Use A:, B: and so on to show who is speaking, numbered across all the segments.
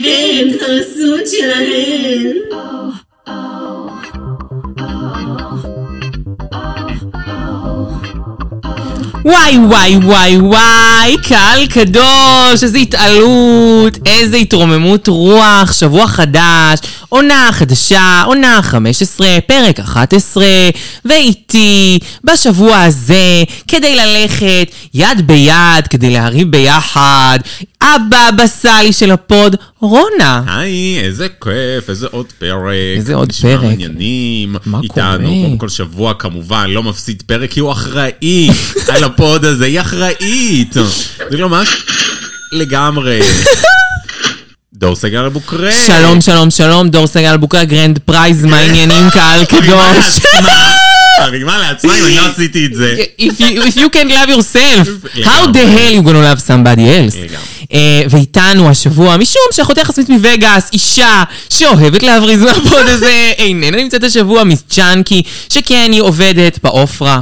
A: הם חרסות שלהם.
B: וואי וואי וואי וואי, קהל קדוש, איזה התעלות, איזה התרוממות רוח, שבוע חדש, עונה חדשה, עונה 15, פרק 11, ואיתי בשבוע הזה, כדי ללכת יד ביד, כדי להרים ביחד, אבא בסלי של הפוד, רונה.
C: היי, איזה כיף, איזה עוד פרק.
B: איזה עוד
C: נשמע
B: פרק.
C: עניינים.
B: מה קורה?
C: איתנו, כמו כל שבוע כמובן, לא מפסיד פרק, כי הוא אחראי על הפוד הזה, היא אחראית. זה לא ממש לגמרי. דור סגל אבוקרן.
B: שלום, שלום, שלום, דור סגל בוקר גרנד פרייז, מה העניינים, קהל קדוש?
C: הרימה לעצמה אם אני לא עשיתי את זה.
B: if you, if you can love yourself, how the
C: לגמרי.
B: hell you gonna love somebody else?
C: לגמרי.
B: אה, ואיתנו השבוע, משום שאחותך הסמית מווגאס, אישה שאוהבת להבריז מהפוד הזה, איננה נמצאת השבוע, מיס צ'אנקי, שכן היא עובדת בעופרה.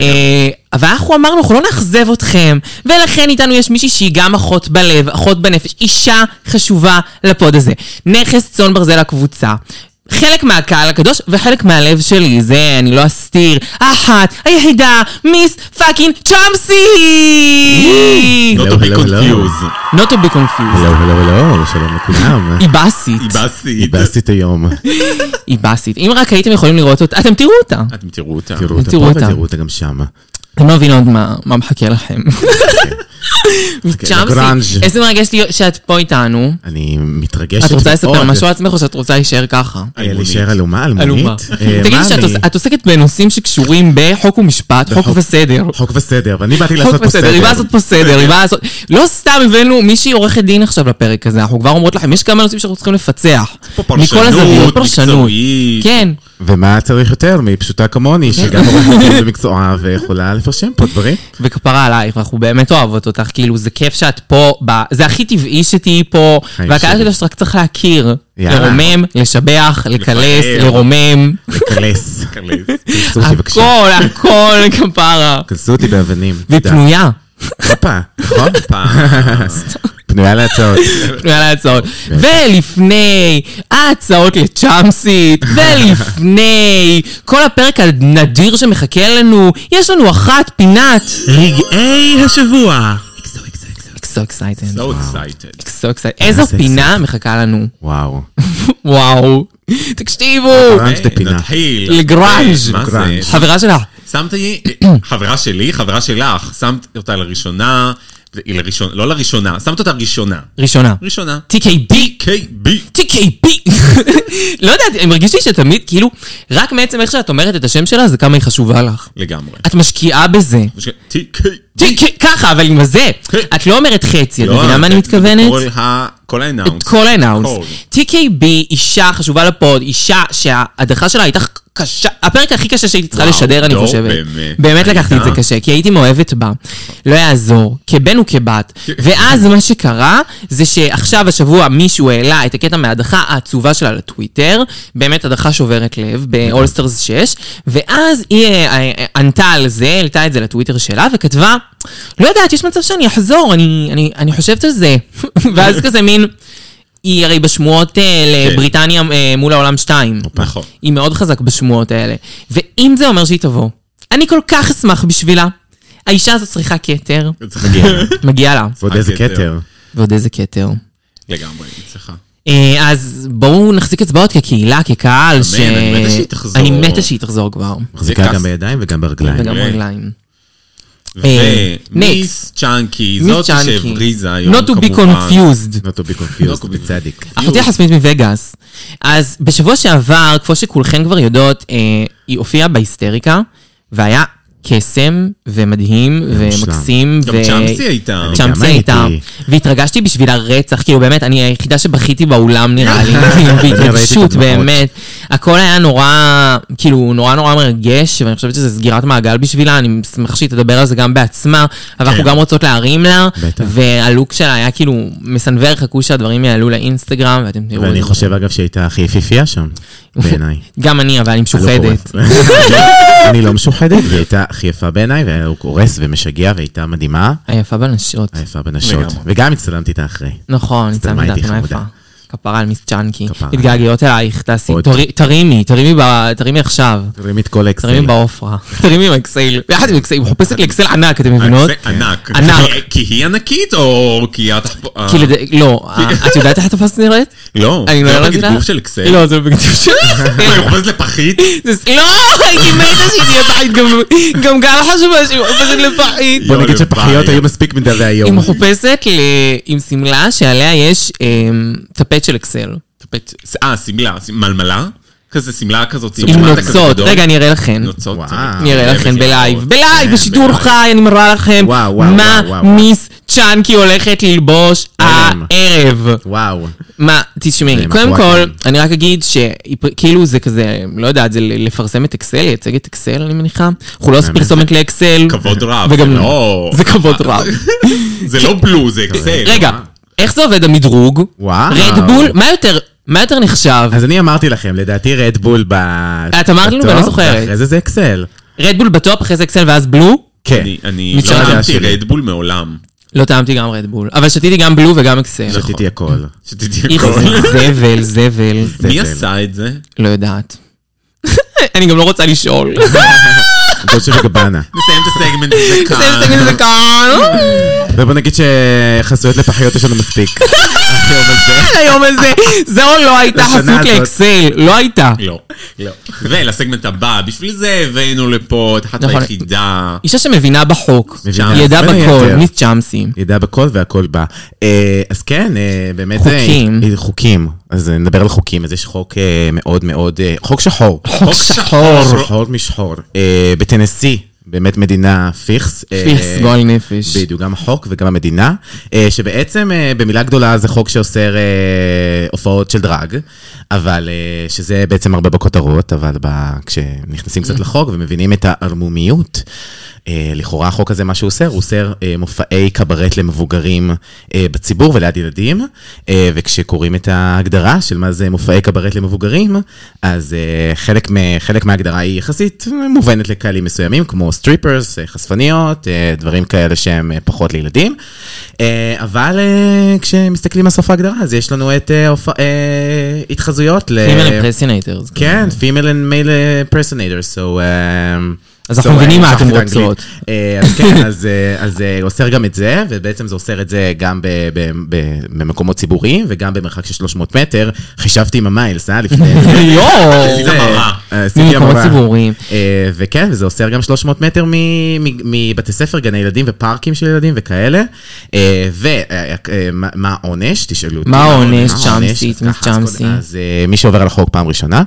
B: אה, אבל אנחנו אמרנו, אנחנו לא נאכזב אתכם, ולכן איתנו יש מישהי שהיא גם אחות בלב, אחות בנפש, אישה חשובה לפוד הזה. נכס צאן ברזל הקבוצה. חלק מהקהל הקדוש וחלק מהלב שלי, זה אני לא אסתיר. האחת, היחידה, מיס פאקינג צ'אמסי!
C: Not to be
D: לא, לא, לא.
C: confused.
B: Not to be confused.
D: הלו, הלו, הלו, שלום לכולם.
B: היא באסית.
C: היא באסית.
D: איבסתי את היום.
B: היא באסית. אם רק הייתם יכולים לראות אותה, אתם תראו אותה.
C: אתם תראו אותה.
D: תראו אותה
B: תראו
D: פה
B: אותה.
D: ותראו אותה גם שמה.
B: אתם לא מבינים עוד מה מה מחכה לכם.
D: לגרנז'.
B: צ'אמסי, איזה מרגש לי שאת פה איתנו.
D: אוקיי, אני מתרגשת.
B: את רוצה לספר
D: מאוד.
B: משהו על עצמך או שאת רוצה להישאר ככה?
D: אה,
C: אלמונית.
D: להישאר עלומה,
B: עלומה.
D: אלמונית. אה,
B: תגידי
D: מה
B: שאת
D: אני?
B: עוש- את עוסקת בנושאים שקשורים בחוק ומשפט, חוק
D: בחוק-
B: וסדר.
D: חוק וסדר, ואני באתי
B: חוק
D: לעשות פה
B: וסדר, היא באה
D: סדר. כן.
B: לעשות פה סדר, היא באה לעשות... לא סתם הבאנו מישהי עורכת דין עכשיו לפרק הזה, אנחנו כבר אומרות לכם, יש כמה נושאים שאנחנו צריכים לפצח.
C: פה
B: מכל הזוויות,
C: פרשנות,
B: פרשנות.
C: מקצועית.
B: כן,
D: ומה צריך יותר מהיא פשוטה כמוני, שגם עורכת דין במקצועה ויכולה לפרשם פה דברים.
B: וכפרה עלייך, ואנחנו באמת אוהבות אותך, כאילו, זה כיף שאת פה, ב... זה הכי טבעי שתהיי פה,
D: חיים
B: והקהל
D: שלי.
B: שלך שרק צריך להכיר,
D: יאללה.
B: לרומם, לשבח, לקלס,
C: לפאר.
B: לרומם,
C: קלס.
D: לקלס.
B: כן.
D: כנסו אותי בבקשה.
B: הכל, הכל כפרה.
D: כנסו אותי באבנים.
B: והיא
D: תודה.
B: פנויה,
D: הופה, נכון?
C: פעם.
D: פנויה להצעות.
B: פנויה להצעות. ולפני ההצעות לצ'אמסית, ולפני כל הפרק הנדיר שמחכה לנו, יש לנו אחת, פינת.
D: רגעי השבוע.
B: So excited.
C: So excited.
B: So excited. איזו
D: זה
B: פינה מחכה לנו.
D: וואו.
B: וואו. תקשיבו.
C: אה.
D: גראנג' דה פינה.
C: נתחיל.
B: לגראנז'.
C: מה זה?
D: גראנג'.
B: חברה שלה.
C: שמת לי, חברה שלי, חברה שלך, שמת אותה לראשונה, היא לראשונה, לא לראשונה, שמת אותה ראשונה.
B: ראשונה.
C: ראשונה.
B: TKB.
C: KB.
B: TKB. לא יודעת, אני מרגיש לי שתמיד, כאילו, רק מעצם איך שאת אומרת את השם שלה, זה כמה היא חשובה לך.
C: לגמרי.
B: את משקיעה בזה.
C: TKB.
B: TK, ככה, אבל עם הזה. את לא אומרת חצי, את מבינה מה אני מתכוונת?
C: כל ה... כל
B: את
C: האנאונס.
B: כל האנאונס.
C: הכל.
B: TKB, אישה חשובה לפוד, אישה שההדרכה שלה הייתה קשה, הפרק הכי קשה שהייתי צריכה
C: וואו,
B: לשדר, אני
C: דור,
B: חושבת.
C: באמת.
B: באמת לקחתי את זה
C: הייתה?
B: קשה, כי הייתי מאוהבת בה. לא יעזור, כבן וכבת. ואז מה שקרה, זה שעכשיו השבוע מישהו העלה את הקטע מההדחה העצובה שלה לטוויטר, באמת הדחה שוברת לב, באולסטרס 6, ואז היא אה, אה, ענתה על זה, העלתה את זה לטוויטר שלה, וכתבה, לא יודעת, יש מצב שאני אחזור, אני- אני- אני חושבת על זה. ואז כזה מין... היא הרי בשמועות אה,
C: כן.
B: לבריטניה אה, מול העולם 2.
C: נכון.
B: היא מאוד חזק בשמועות האלה. ואם זה אומר שהיא תבוא, אני כל כך אשמח בשבילה. האישה הזאת צריכה כתר,
C: מגיע.
B: מגיע לה.
D: ועוד איזה
C: הכתר.
D: כתר.
B: ועוד איזה כתר.
C: לגמרי, היא צריכה.
B: אה, אז בואו נחזיק אצבעות כקהילה, כקהל, ש...
C: אני מתה שהיא תחזור.
B: אני מתה שהיא תחזור כבר.
D: מחזיקה
C: זה כס.
D: גם בידיים וגם ברגליים.
B: וגם
C: מעולה.
B: רגליים. אה,
C: ומיס צ'אנקי,
B: מיס
C: זאת
B: צ'אנקי.
C: שהבריזה היום
B: Not to be
C: כמובן.
B: confused.
D: Not to be
C: Not to
D: confused,
C: be-
D: בצדיק.
B: אחותי החסמית מווגאס. אז בשבוע שעבר, כמו שכולכן כבר יודעות, אה, היא הופיעה בהיסטריקה, והיה קסם ומדהים ומקסים.
C: גם
B: ו-
C: צ'אמסי הייתה.
D: גם
B: צ'אמסי
D: אני
B: הייתה,
D: הייתי.
B: והתרגשתי בשביל הרצח, כאילו באמת, אני היחידה שבכיתי באולם נראה לי, כאילו
D: ראיתי את
B: בהתרגשות
D: הדמעות.
B: באמת. הכל היה נורא, כאילו נורא נורא מרגש, ואני חושבת שזה סגירת מעגל בשבילה, אני שמח שהיא תדבר על זה גם בעצמה, אבל אנחנו
C: כן.
B: גם רוצות להרים לה,
D: בטח.
B: והלוק שלה היה כאילו מסנוור, חכו שהדברים יעלו לאינסטגרם, ואתם תראו את
D: ואני
B: זה.
D: חושב אגב שהיא הייתה הכי יפיפייה שם, בעיניי.
B: גם אני, אבל אני משוחדת.
D: אני לא משוחדת, והיא הייתה הכי יפה בעיניי, והוא קורס ומשגע והייתה מדהימה.
B: היפה בנשות.
D: היפה בנשות.
C: לגמרי.
D: וגם הצטלמתי איתה אחרי.
B: נכון,
D: אה. סתם,
B: הצלמתי את
D: הייתי
B: התמונה
D: חמודה.
B: יפה. כפרה על מיס צ'אנקי.
D: כפרה.
B: מתגעגעות אלייך, תעשי,
D: עוד.
B: תורי- תרימי, תרימי ב- תרימי עכשיו.
D: תרימי את כל האקסל.
B: תרימי באופרה. תרימי עם אקסל. יחד עם אקסל, היא מחופשת לי אקסל ענק, אתם מבינות?
C: זה ענק.
B: לא? ענק.
C: כי- כי היא ענקית או כי את...
B: כי לד... לא, אה, את יודעת איך התפסת נראית?
C: לא,
B: אני לא
C: זה לא
B: ירדתי
C: בגדגוף
B: לך?
C: של אקסל.
B: לא, זה בגדול של
C: מה, היא
B: אקסל.
C: חופשת לפחית?
B: זה- לא, הייתי מתה שהיא תהיה פחית, גם- גם גל חשובה שהיא מחופשת לפחית.
D: בוא נגיד
C: יואו,
D: שפחיות
C: לבעיה.
D: היו מספיק מדרי
B: היא
D: היום.
B: מחופשת ל... עם שמלה שעליה יש אמ, טפט של אקסל.
C: טפט- אה, שמלה, ש- מלמלה? כזה שמלה כזאת.
B: עם
C: שמלת כזה
B: נוצות.
C: גדול.
B: רגע, אני אראה לכן.
C: נוצות. אה,
D: וואו.
C: צודק.
B: אני אראה לכם
C: באמת,
B: בלייב,
C: יואו.
B: בלייב, בשידור
C: בלייב.
B: חי, אני מראה לכם
D: וואו, וואו,
B: מה
D: וואו, וואו.
B: מיס צ'אנקי הולכת ללבוש
C: אה,
D: אלם.
B: הערב.
D: וואו.
B: מה, תשמעי,
D: זה
B: קודם כל,
D: מחוואקן.
B: אני רק אגיד שכאילו זה כזה, לא יודעת, זה ל- לפרסם את אקסל, לייצג את אקסל, אני מניחה. אנחנו לא עושים פרסומת לאקסל.
C: כבוד רב.
B: וגם-
C: זה לא-
B: זה כבוד רב. כן.
C: זה לא בלו, זה אקסל.
B: רגע, איך זה עובד המדרוג?
D: וואו.
B: רדבול, מה יותר, מה יותר נחשב?
D: אה. אז אני אמרתי לכם, לדעתי רדבול ב...
B: את אמרת לנו,
D: בטופ,
B: ואני לא זוכרת.
D: ואחרי זה זה אקסל.
B: רדבול בטופ, אחרי זה אקסל ואז בלו?
D: כן.
C: אני- אני לא
B: מצד הדעה
C: טעמתי
D: שלי.
C: רדבול מעולם.
B: לא טעמתי גם רדבול, אבל שתיתי גם בלו וגם אקסל.
D: שתיתי הכל.
C: שתדעי
B: איך
C: הכל.
B: זה זבל, זבל.
C: מי
D: זה-
C: עשה את זה?
B: לא יודעת. אני גם לא רוצה לשאול.
D: דולצ'ה וגבאנה.
C: נסיים את הסגמנט הזה
B: זה מסתכל על
C: כאן.
B: זה כאן.
D: ובוא נגיד שחסויות לפחיות יש לנו מספיק. היום הזה.
B: על היום הזה. זו לא הייתה
D: לשנה
B: חסות
D: הזאת.
B: לאקסל, לא הייתה.
C: לא. ולסגמנט הבא, בשביל זה הבאנו לפה את אחת
B: נכון.
C: היחידה.
B: אישה שמבינה בחוק.
D: מבינה.
B: היא ידעה
D: בין
B: בכל,
D: היתר.
B: מיס צ'אמסי.
D: ידע בכל והכל בא. אה, אז כן, אה, באמת... זה-
B: חוקים.
D: אה, חוקים. אז אה, נדבר על חוקים. אז יש חוק אה, מאוד מאוד... אה, חוק שחור.
B: חוק שחור.
D: שחור משחור. אה, בטנסי, באמת מדינה פיקס. אה,
B: פיס גועל נפש.
D: בדיוק, גם החוק וגם המדינה, אה, שבעצם אה, במילה גדולה זה חוק שאוסר אה, הופעות של דרג, אבל אה, שזה בעצם הרבה בכותרות, אבל ב- כשנכנסים קצת לחוק ומבינים את הערמומיות, אה, לכאורה החוק הזה, מה שהוא אוסר, הוא אוסר אה, מופעי קברט למבוגרים אה, בציבור וליד ילדים, אה, וכשקוראים את ההגדרה של מה זה מופעי קברט למבוגרים, אז אה, חלק, מ- חלק מההגדרה היא יחסית מובנת לקהלים מסוימים, כמו סטריפרס, אה, חשפניות, אה, דברים כאלה שהם אה, פחות לילדים. אה, אבל אה, כשמסתכלים על סוף ההגדרה, אז יש לנו את אה, הופ- אה, התחזויות ל...
B: פימל אמפרסינטרס.
D: כן, female and male uh, impersonators, so... um,
B: אז אנחנו
D: so, uh,
B: מבינים מה
D: שכחתי
B: אתם
D: את האנגלית.
B: רוצות.
D: אה, אז כן, אז, אה, אז אה, אוסר גם את זה, ובעצם זה אוסר את זה גם ב- ב- ב- במקומות ציבוריים, וגם במרחק של 300 מטר. חישבתי עם המיילס, אה? לפני... זה.
B: יואו!
C: עשית המרה.
D: אה, עשיתי
B: ממקומות
D: המרה.
B: ציבוריים.
D: אה, וכן, וזה אוסר גם 300 מטר מ- מ- מבתי ספר, גני ילדים ופארקים של ילדים וכאלה. אה, ומה העונש? תשאלו אותי.
B: מה העונש?
D: מה
B: צ'אמסי,
D: העונש?
B: מיס
D: אז ככה, אז
B: צ'אמסי.
D: קודם- אז אה, מי שעובר על החוק פעם ראשונה,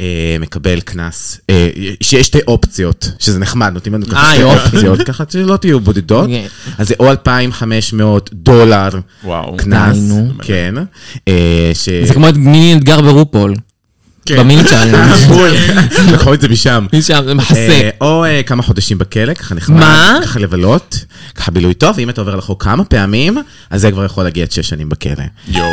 D: אה, מקבל קנס, אה, שיש שתי אופציות, שזה נחמד, נותנים לנו ככה
B: אה,
D: שתי
B: יופי.
D: אופציות, ככה שלא תהיו בודדות.
B: כן.
D: אז זה או 2,500 דולר
C: וואו.
D: קנס,
B: די, נו.
D: כן. אה, ש-
B: זה כמו את מיני אתגר ברופול.
C: כן.
B: במיני צ'אלנג'.
D: בול. לקחו את זה משם.
B: מיס צ'אמסי,
D: אה,
B: מחסה.
D: או אה, כמה חודשים בכלא, ככה נחמד.
B: מה?
D: ככה לבלות, ככה בילוי טוב, ואם אתה עובר על החוק כמה פעמים, אז זה כבר יכול להגיע עד שש שנים בכלא.
C: יואו.
D: אה,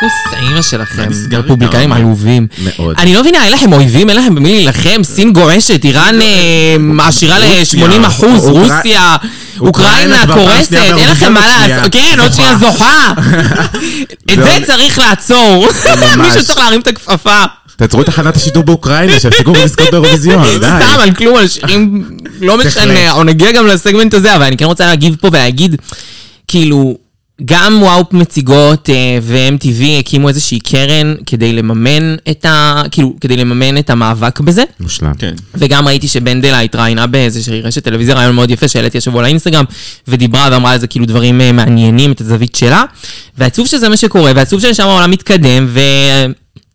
B: כוס האימא שלכם,
C: נסגר
B: רפובליקאים
C: איתם?
B: עלובים.
D: מאוד.
B: אני לא מבינה, אין לכם אויבים, אין לכם במי להילחם, סין גועשת, איראן
D: לא,
B: אה, מעשירה ל-80 אחוז,
D: אוקרא-
B: רוסיה,
D: אוקראינה
B: אוקראינה
D: כבר פעם
B: קורסת,
D: שנייה
B: אין לכם
D: בהרוגים
B: מה
D: עוד שנייה.
B: לעשות, כן, עוד שנייה זוכה. את זה
D: לא,
B: צריך לעצור.
D: ממש.
B: מישהו צריך להרים את הכפפה.
D: תעצרו את תחנת השידור באוקראינה, שיפסיקו לזכות באירוויזיון, די.
B: סתם, על כלום, על שירים, לא משנה,
D: בהחלט.
B: או נגיע גם לסגמנט הזה, אבל אני כן רוצה להגיב פה ולהגיד, כאילו, גם וואו מציגות אה, ו-MTV הקימו איזושהי קרן כדי לממן את ה... כאילו, כדי לממן את המאבק בזה.
D: מושלם.
C: כן.
B: וגם ראיתי שבנדלה התראיינה באיזושהי רשת טלוויזיה, רעיון מאוד יפה שהעליתי השבוע לאינסטגרם, ודיברה ואמרה על זה כאילו דברים אה, מעניינים, את הזווית שלה. ועצוב שזה מה שקורה, ועצוב ששם העולם מתקדם, ו...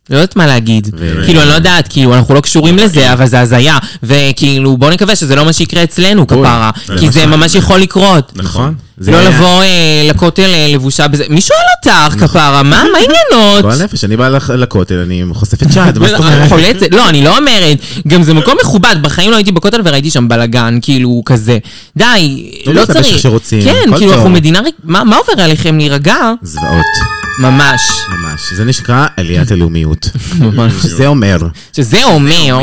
B: לא יודעת מה להגיד.
D: ו-
B: כאילו, אני לא יודעת, כאילו, אנחנו לא קשורים לזה, אבל זה הזיה. וכאילו, בואו נקווה שזה לא מה שיקרה אצלנו, כפרה. כי זה ממש יכול לקרות.
D: נכון. לא זה-
B: לא לבוא אה, לכותל אה, לבושה בזה. מי שואל אותך, כפרה? מה מה
D: גועל
B: העניינות?
D: נפש, אני בא לח- לכותל, אני חושף את שד, מה זאת
B: אני
D: אומרת?
B: חולצת, לא, אני לא אומרת. גם זה מקום מכובד, בחיים לא הייתי בכותל וראיתי שם בלאגן, כאילו, כזה. די,
D: לא
B: לא
D: להתלבש
B: צריך.
D: איך שרוצים,
B: כן,
D: הכל
B: כאילו,
D: טוב.
B: אנחנו מדינה... ריק- מה מה עובר עליכם להירגע?
D: זוועות,
B: ממש.
D: ממש. זה נקרא עליית הלאומיות.
B: ממש.
D: שזה אומר,
B: שזה אומר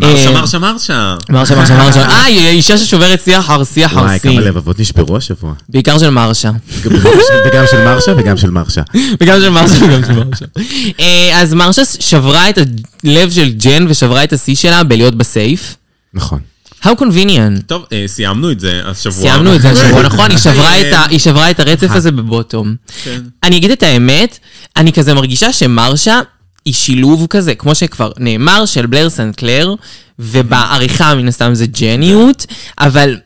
C: מר
B: אה,
C: שמר שמר שם.
B: מרשה, מרשה, מרשה. אה, היא אישה ששוברת שיח הר, שיח
D: וואי,
B: הרסי.
D: כמה לבבות נשברו השבוע.
B: בעיקר של מרשה.
D: גם- וגם של מרשה וגם של מרשה.
B: וגם של מרשה וגם של מרשה. אה, אז מרשה שברה את הלב של ג'ן ושברה את השיא שלה בלהיות בסייף.
D: נכון.
B: How convenient.
C: טוב, אה, סיימנו את זה השבוע.
B: סיימנו את זה השבוע, נכון? היא שברה את ה-
C: אה,
B: היא שברה את הרצף הזה בבוטום.
C: כן.
B: אני אגיד את האמת, אני כזה מרגישה שמרשה היא שילוב כזה, כמו שכבר נאמר, של בלר סנקלר, ובעריכה מן הסתם זה ג'ניות, אבל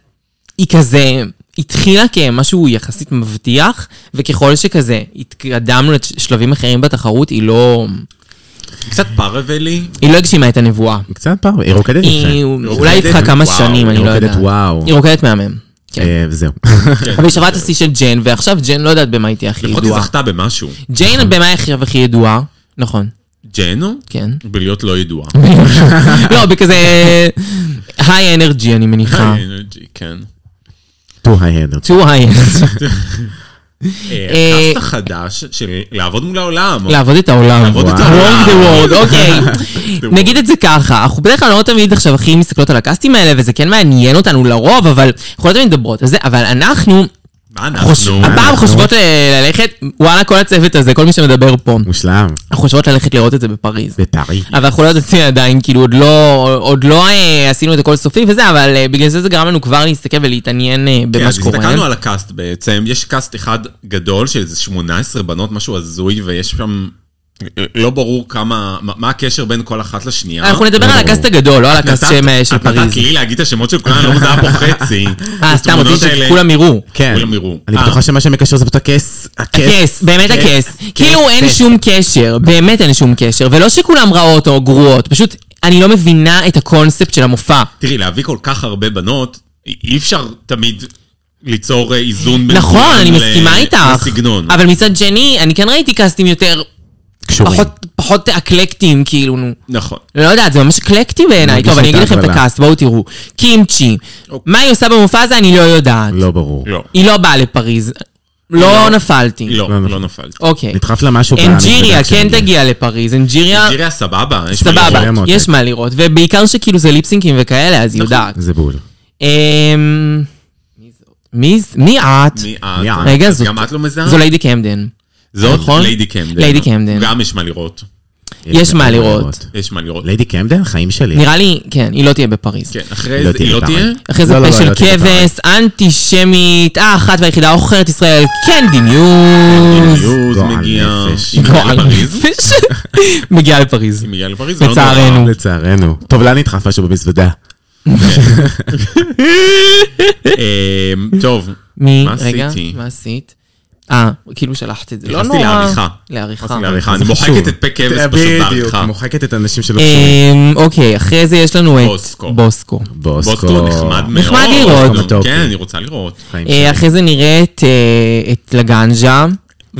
B: היא כזה... התחילה כמשהו יחסית מבטיח, וככל שכזה התקדמנו לשלבים אחרים בתחרות, היא לא...
C: קצת פרוולי.
B: היא לא הגשימה את הנבואה.
D: קצת פעם, היא רוקדת יפה.
B: היא
C: רוקדת,
B: אולי איתך כמה
C: וואו,
B: שנים, אני
D: היא
B: לא
D: רוקדת
B: יודעת.
D: וואו.
B: היא רוקדת מהמם. כן.
D: אה, וזהו.
B: אבל היא שברה את השיא של ג'ן, ועכשיו ג'ן לא יודעת במה היא תהיה הכי
C: לפחות היא
B: ידועה.
C: זכתה במשהו.
B: ג'יין במה היא עכשיו הכי ידועה? נכון,
C: ג'נו?
B: כן.
C: בלהיות לא ידועה.
B: לא, בכזה... היי אנרג'י, אני מניחה.
C: היי, אנרג'י, כן.
D: טו היי הנדרצ'י.
B: טו היי
C: אה,
B: אה,
C: הקאסט החדש של לעבוד מול העולם.
B: לעבוד את העולם.
C: לעבוד את
D: וואו.
B: Roam
C: העולם.
B: the world, אוקיי.
C: world.
B: נגיד את זה ככה, אנחנו בדרך כלל לא תמיד עכשיו הכי מסתכלות על הקאסטים האלה, וזה כן מעניין אותנו לרוב, אבל אנחנו לא תמיד מדברות על זה, אבל אנחנו...
C: מה
B: חוש-
C: אנחנו? כן, לא.
B: הפעם
D: אנחנו-
B: חושבות אה, ללכת, וואלה, כל הצוות הזה, כל מי שמדבר פה,
D: מושלם.
B: אנחנו חושבות ללכת לראות את זה בפריז.
D: בטרי.
B: אבל אנחנו לא יודעים עדיין, כאילו עוד לא, עוד לא אה, עשינו את הכל סופי וזה, אבל אה, בגלל זה זה גרם לנו כבר להסתכל ולהתעניין אה,
C: כן,
B: במה
C: אז
B: שקורה.
C: הסתכלנו על הקאסט בעצם, יש קאסט אחד גדול של איזה 18 בנות, משהו הזוי, ויש שם... לא ברור כמה, מה- מה הקשר בין כל אחת לשנייה.
B: אה, אנחנו נדבר על הקאסט הגדול, לא על
C: את
B: הקאסט
C: נתת-
B: שם, אה, של
C: את נתת
B: פריז.
C: לי להגיד את השמות של כולנו, לא זה היה פה חצי.
B: אה, סתם,
C: התמונות
B: רוצים
C: האלה-
B: שכולם יראו.
D: כן.
C: כולם יראו.
D: אני
C: אה.
D: בטוחה שמה שמקשר זה פשוט הכס. הכס.
B: הכס, באמת
C: כס,
B: הכס.
C: כס,
B: כאילו אין
D: כס.
B: שום קשר, באמת אין שום קשר. ולא שכולם רעות או גרועות, פשוט אני לא מבינה את הקונספט של המופע.
C: תראי, להביא כל כך הרבה בנות, אי אי אפשר תמיד ליצור אה, איזון בין
B: נכון,
C: כולם
B: אני
C: ל-
B: מסכימה איתך.
C: לסגנון.
B: אבל מצד שני, אני כן ראיתי קאסטים יותר,
D: קשורים.
B: פחות- פחות אקלקטיים, כאילו, נו.
C: נכון.
B: לא יודעת, זה ממש אקלקטי בעיניי.
D: מרגיש
B: טוב, אני
D: את
B: אגיד לכם את
D: ההגבלה.
B: הקאסט, בואו תראו. קימצ'י,
C: אוקיי.
B: מה היא עושה במופע הזה אני לא יודעת.
D: לא ברור.
C: לא.
B: היא לא באה לפריז. לא
C: לא.
B: נפלתי.
C: לא,
D: לא
C: לא נפלת.
B: אוקיי.
D: נדחף לה משהו.
B: אנג'יריה
D: במפגש
B: כן
D: שלנו.
B: תגיע לפריז, אנג'יריה
C: ג'יריה סבבה, יש מה
B: סבבה,
C: לראות.
D: לראות.
B: יש מה לראות. ובעיקר שכאילו זה ליפסינקים וכאלה, אז היא
C: נכון.
B: יודעת.
D: זה בול.
B: אמ, מי ז- מי את?
C: מי אה, את?
D: מי את?
B: רגע,
C: אז
B: זאת-
C: גם את לא מזהה?
B: זו ליידי קמדן.
C: זאת
B: נכון?
C: ליידי קמדן.
B: ליידי קמדן.
C: גם יש מה לראות.
B: יש
D: אה,
B: מה לראות.
C: יש מה לראות.
D: ליידי קמדן, חיים שלי.
B: נראה לי, כן, היא לא תהיה בפריז.
C: כן, אחרי
D: לא
C: זה היא לא
D: תהיה
C: תהיה?
D: בטעם.
B: אחרי זה
D: לא, לא,
B: פה
D: לא,
B: של
D: לא, תהיה
B: כבש, אנטישמית, האחת והיחידה עוכרת ישראל, קנדי ניוז.
C: יוז
D: גועל
C: מגיע.
D: נפש.
C: היא מגיעה
B: גועל
C: לפריז?
B: נפש. מגיעה לפריז.
C: היא מגיעה לפריז? לא
B: לצערנו.
C: נורא.
D: לצערנו. טוב, לאן נדחף משהו במזוודה?
C: אמ, טוב.
B: מי?
C: מה
B: רגע,
C: עשיתי?
B: מה עשית? אה, כאילו שלחת את זה. לא
C: נכנסתי
B: נורא. אה.
C: לעריכה.
B: לעריכה.
C: נכנסתי לעריכה. אני
D: זה חשוב.
C: מוחקת את פה כבש פשוט
D: אה, בדיוק,
C: בעריכה.
D: מוחקת את האנשים שלא קשורים.
B: אמ, אוקיי, אחרי זה יש לנו את...
C: בוסקו.
B: בוסקו.
D: בוסקו.
C: בוסקו נחמד מאוד.
B: נחמד לראות.
D: בוסקו
C: כן,
D: מטופי.
C: אני רוצה לראות.
D: חיים
B: אה,
D: שלי.
B: אחרי זה נראה את, אה, את לגנג'ה,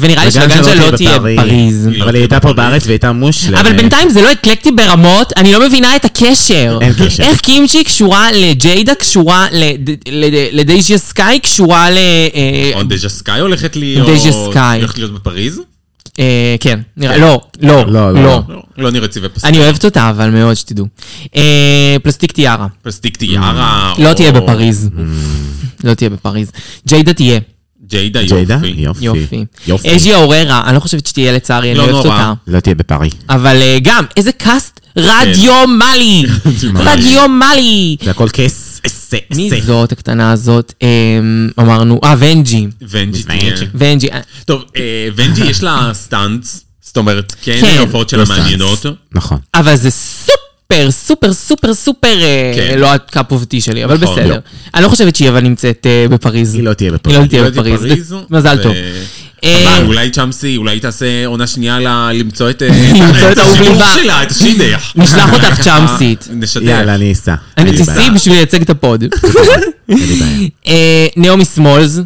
B: ונראה לי
D: לגנג'ה
B: שלגנג'ה לא תהיה בפריז.
C: היא לא
D: אבל היא
C: תהיה
D: הייתה פה
C: בפריז.
D: בארץ והייתה
C: כן.
D: מושלמת.
B: אבל בינתיים זה לא אקלקטי ברמות, אני לא מבינה את הקשר.
D: אין קשר.
B: איך קימצ'י קשורה לג'יידה, קשורה לד- לד- לדייג'יה סקאי, קשורה ל... אה,
C: או דז'ה סקאי הולכת להיות...
B: דז'ה סקאי.
C: הולכת להיות בפריז?
B: אה, כן, נראה, לא, לא,
D: לא, לא.
B: לא.
C: לא, לא נראה צבעי פסטיק.
B: אני אוהבת אותה, אבל מאוד שתדעו. אה, פלסטיק טיארה,
C: פסטיק טיארה.
B: לא
C: או-
B: תהיה בפריז. לא תהיה בפריז. ג'יידה תהיה,
C: ג'יידה
D: ג'יידה?
C: יופי.
D: יופי.
B: יופי. אג'י אוררה, אני לא חושבת שתהיה לצערי, אני
C: לא
B: אוהבת
C: נורא.
B: אותה.
D: לא תהיה בפארי.
B: אבל אה, גם, איזה קאסט רדיומלי! רדיומלי!
D: זה הכל כס. אס, אס,
B: מי
D: אס.
B: זאת הקטנה הזאת? אמ, אמרנו, אה, ונג'י.
C: ונג'י תהיה.
B: ונג'י, אה,
C: טוב, אה, ונג'י יש לה סטאנץ. זאת אומרת, כן,
B: כן.
C: ההופעות שלה
D: לא סטאנץ.
C: מעניינות.
D: נכון.
B: אבל זה סופר, סופר, סופר, סופר, אה,
C: כן.
B: לא הקאפ אופטי שלי, אבל
C: נכון,
B: בסדר.
C: לא.
B: אני לא חושבת שהיא אבל נמצאת אה, בפריז.
D: היא לא תהיה בפארי.
B: היא לא
C: היא
B: תהיה
C: לא תהיה
B: בפריז.
C: בפריז,
B: מזל
C: ו-
B: טוב. אה,
C: אבל אולי צ'אמסי, אולי היא תעשה עונה שנייה ל- למצוא את אה,
B: למצוא את
C: את
B: האהוב
C: השידוך
B: ליבה.
C: שלה, את אה, השידך.
B: נשלח אותך צ'אמסית.
C: נשדך.
D: יאללה, אני אסע. אין
B: אני
D: לי
B: תיסעי
D: בעיה.
B: בשביל לייצג את הפוד.
D: אין לי בעיה.
B: אה, נעמי סמולס,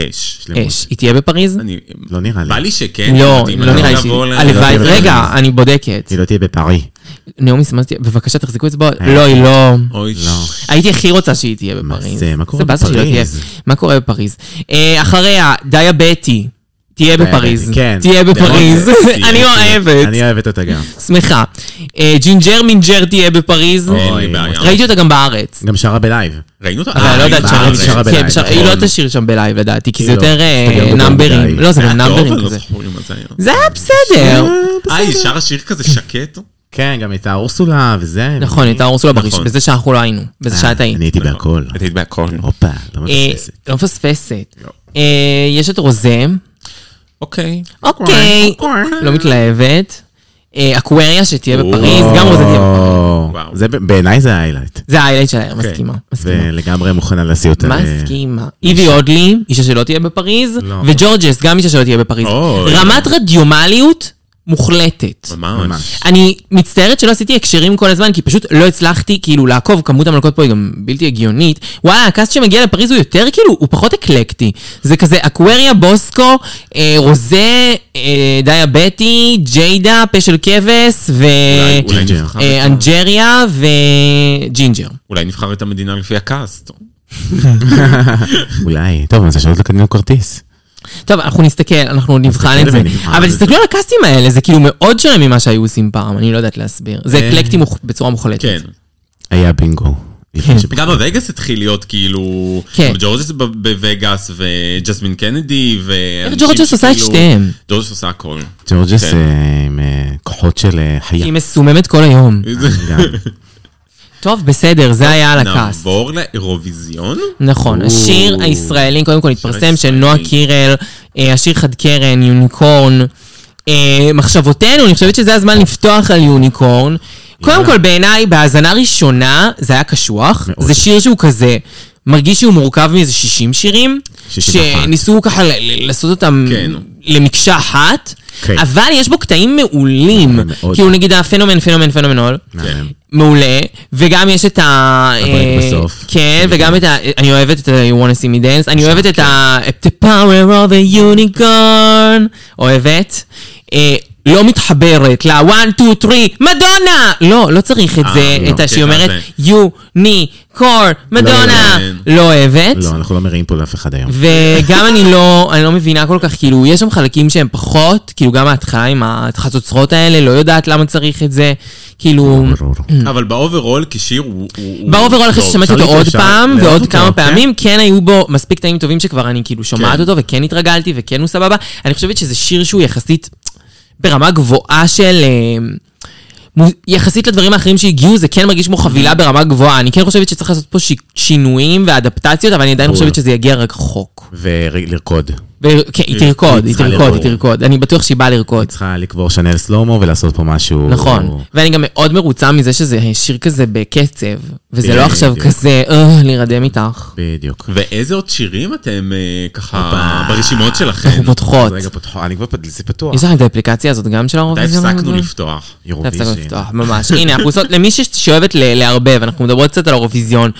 C: אש.
D: שלמות.
B: אש, היא תהיה בפריז?
C: אני-
D: לא נראה לי.
C: בא לי שכן.
B: לא,
C: אם
B: לא
C: אני
B: נראה לי שהיא...
C: אבוא ל-
B: הלוואי,
D: לא תהיה
B: רגע,
D: בפריז.
B: אני בודקת.
D: היא לא תהיה בפארי.
B: נעמי סמלס, תהיה- בבקשה תחזיקו אצבעות.
D: אה.
B: לא, היא לא...
C: אוי,
D: לא.
C: ש-
B: הייתי הכי רוצה שהיא תהיה
D: מה
B: בפריז.
D: זה? מה קורה
B: באסה שהיא לא תהיה.
D: בפריז?
B: מה קורה בפריז? אה, אחריה, דיה בטי. תהיה
D: דיה
B: בפריז.
D: בטי, כן.
B: תהיה
D: דיה
B: בפריז.
D: בטי.
B: אני אוהבת.
D: אני אוהבת אותה גם.
B: שמחה. אה, ג'ינג'ר מינג'ר תהיה בפריז.
C: אין לי בעיה.
B: ראיתי אותה גם בארץ.
D: גם שרה בלייב.
C: ראינו אותה?
B: אבל אני לא יודעת
D: בארץ,
B: שרה
D: שרה
B: בלייב.
D: בלייב,
B: כן, שרה- היא לא
D: נכון.
B: תשאיר שם בלייב לדעתי, כי זה
D: היא לא,
B: יותר אה,
D: תסתכל בגוגל
B: נאמברים.
D: בלייב.
B: לא, זה
C: היה
B: גם
C: טוב,
B: נאמברים
C: אני לא
B: כזה.
C: זוכר מה זה היה.
B: זה היה בסדר.
C: אה, היא שרה שיר כזה שקט?
D: כן, גם הייתה אורסולה וזה. אה,
B: נכון, הייתה אורסולה בראשון,
C: נכון.
B: בזה שאנחנו לא היינו, בזה שאת היית.
D: אני הייתי בהכל.
C: את היית בהכל.
D: הופה, לא
B: אה,
D: מפספסת.
B: לא מפספסת. אה, יש את רוזם,
C: אוקיי.
B: אוקיי,
D: אוקיי.
B: לא מתלהבת. אה, אקווריה שתהיה בפריז,
D: או,
B: גם רוזה תהיה בפריז.
C: וואו.
D: זה ב- בעיניי זה האיילייט.
B: זה האיילייט של הערב, מסכימה. מסכימה.
D: ולגמרי מוכנה להשיא אותה. ל-
B: מסכימה. איבי אודלי, אישה שלא תהיה בפריז,
D: אה, לא.
B: וג'ורג'ס, גם אישה שלא תהיה בפריז.
C: אוי.
B: רמת רדיומליות מוחלטת.
C: ממש.
B: אני מצטערת שלא עשיתי הקשרים כל הזמן, כי פשוט לא הצלחתי כאילו לעקוב, כמות המלכות פה היא גם בלתי הגיונית. וואלה, הקאסט שמגיע לפריז הוא יותר כאילו, הוא פחות אקלקטי. זה כזה אקווריה, בוסקו, אה, רוזה, אה, דיאבטי, ג'יידה, פה של כבש, ו...
C: אולי- אולי
D: ג'ינג'ר.
C: נבחר
B: אה,
C: את ה-
B: אנג'ריה וג'ינג'ר.
C: אולי נבחר את המדינה לפי הקאסט.
D: אולי. טוב, אז השאלות לא קנינו כרטיס.
B: טוב, אנחנו נסתכל, אנחנו נבחן
D: נסתכל
B: את זה.
D: ונבחן
B: אבל
D: את זה.
B: תסתכלו על הקאסטים האלה, זה כאילו מאוד שונה ממה שהיו עושים פעם, אני לא יודעת להסביר. זה
D: אה.
B: אקלקטי מוח- בצורה מוחלטת.
C: כן.
D: היה בינגו. לפני שבינגו.
C: גם בווגאס התחיל להיות כאילו...
B: כן.
C: ג'ורג'ס ב- בווגאס וג'סמין קנדי ו...
B: ג'ורג'ס עושה את שתיהם?
C: ג'ורג'ס עושה הכל.
D: ג'ורג'ס
C: כן.
D: אה, עם אה, כוחות של אה, חיה.
B: היא מסוממת כל היום.
C: אה,
D: גם.
B: טוב, בסדר, זה היה על הכעס.
C: נעבור לאירוויזיון?
B: נכון,
D: או.
B: השיר הישראלי, קודם כל התפרסם של נועה
C: הישראלי.
B: קירל, אה, השיר חד קרן, יוניקורן. אה, מחשבותינו, אני חושבת שזה הזמן לפתוח על יוניקורן. קודם כל, בעיניי, בהאזנה ראשונה, זה היה קשוח.
D: מאוד.
B: זה שיר שהוא כזה, מרגיש שהוא מורכב מאיזה 60 שירים.
D: 61.
B: שניסו ככה ל- ל- לעשות אותם
C: כן.
B: למקשה אחת.
D: כן. אה,
B: אבל יש בו קטעים מעולים.
D: מאוד. נכון.
B: כאילו, נגיד הפנומן, פנומן, פנומנול.
C: אה.
D: מהמם.
C: כן.
B: מעולה, וגם יש את ה...
D: הפרק
B: אה,
D: בסוף.
B: כן, וגם את ה... אני אוהבת את ה- You wanna see me dance, אני אוהבת את ה... The power of the unicorn, אוהבת. אה, לא מתחברת ל-1, 2, 3, מדונה! לא, לא צריך את
C: אה,
B: זה,
C: לא,
B: את ה...
C: כן,
B: שהיא אומרת,
C: זה.
B: יוניקורן, מדונה!
C: כן.
B: לא אוהבת.
D: לא, אנחנו לא מראים פה לאף אחד היום.
B: וגם אני לא, אני לא מבינה כל כך, כאילו, יש שם חלקים שהם פחות, כאילו, גם ההתחלה עם החצוצרות האלה, לא יודעת למה צריך את זה, כאילו...
D: ברור.
C: אבל באוברול כשיר הוא... הוא- לא. הוא
B: באוברול אחרי
C: טוב.
B: ששמעתי
D: אפשר
B: אותו עוד
D: להתרשם,
B: פעם
D: לאהוב
B: ועוד
D: אותו,
B: כמה
D: כן.
B: פעמים, כן היו בו מספיק תאים טובים שכבר אני כאילו שומעת
C: כן.
B: אותו וכן התרגלתי וכן הוא סבבה. אני חושבת שזה שיר שהוא יחסית ברמה גבוהה של... אה, מו- יחסית לדברים האחרים שהגיעו, זה כן מרגיש כמו חבילה ברמה גבוהה. אני כן חושבת שצריך לעשות פה ש... שינויים ואדפטציות, אבל אני עדיין
D: ברור.
B: חושבת שזה יגיע רק רחוק.
D: ולרקוד.
B: ו... כן, היא תרקוד, היא
D: צריכה
B: תרקוד, היא
D: לרקוד.
B: תרקוד. אני בטוח שהיא באה לרקוד.
D: צריכה לקבור שנל סלומו ולעשות פה משהו...
B: נכון, ואני גם מאוד מרוצה מזה שזה שיר כזה בקצב, וזה לא
D: בדיוק.
B: עכשיו כזה, אה, להירדם איתך.
D: בדיוק.
C: ואיזה עוד שירים אתם אה, ככה
D: הופה.
C: ברשימות שלכם?
B: אנחנו פותחות.
D: רגע, פתחו, אני כבר פתח, זה פתוח.
B: יש לכם את האפליקציה הזאת גם של
C: מתי
B: האירוויזיון?
C: הפסקנו
B: הגדול?
C: לפתוח?
B: מתי
D: אירוויזיון.
B: הפסקנו לפתוח, ממש. הנה, אנחנו עושות, למי ש- שאוהבת ל- לערבב, אנחנו מדברות קצת על האירוויזיון.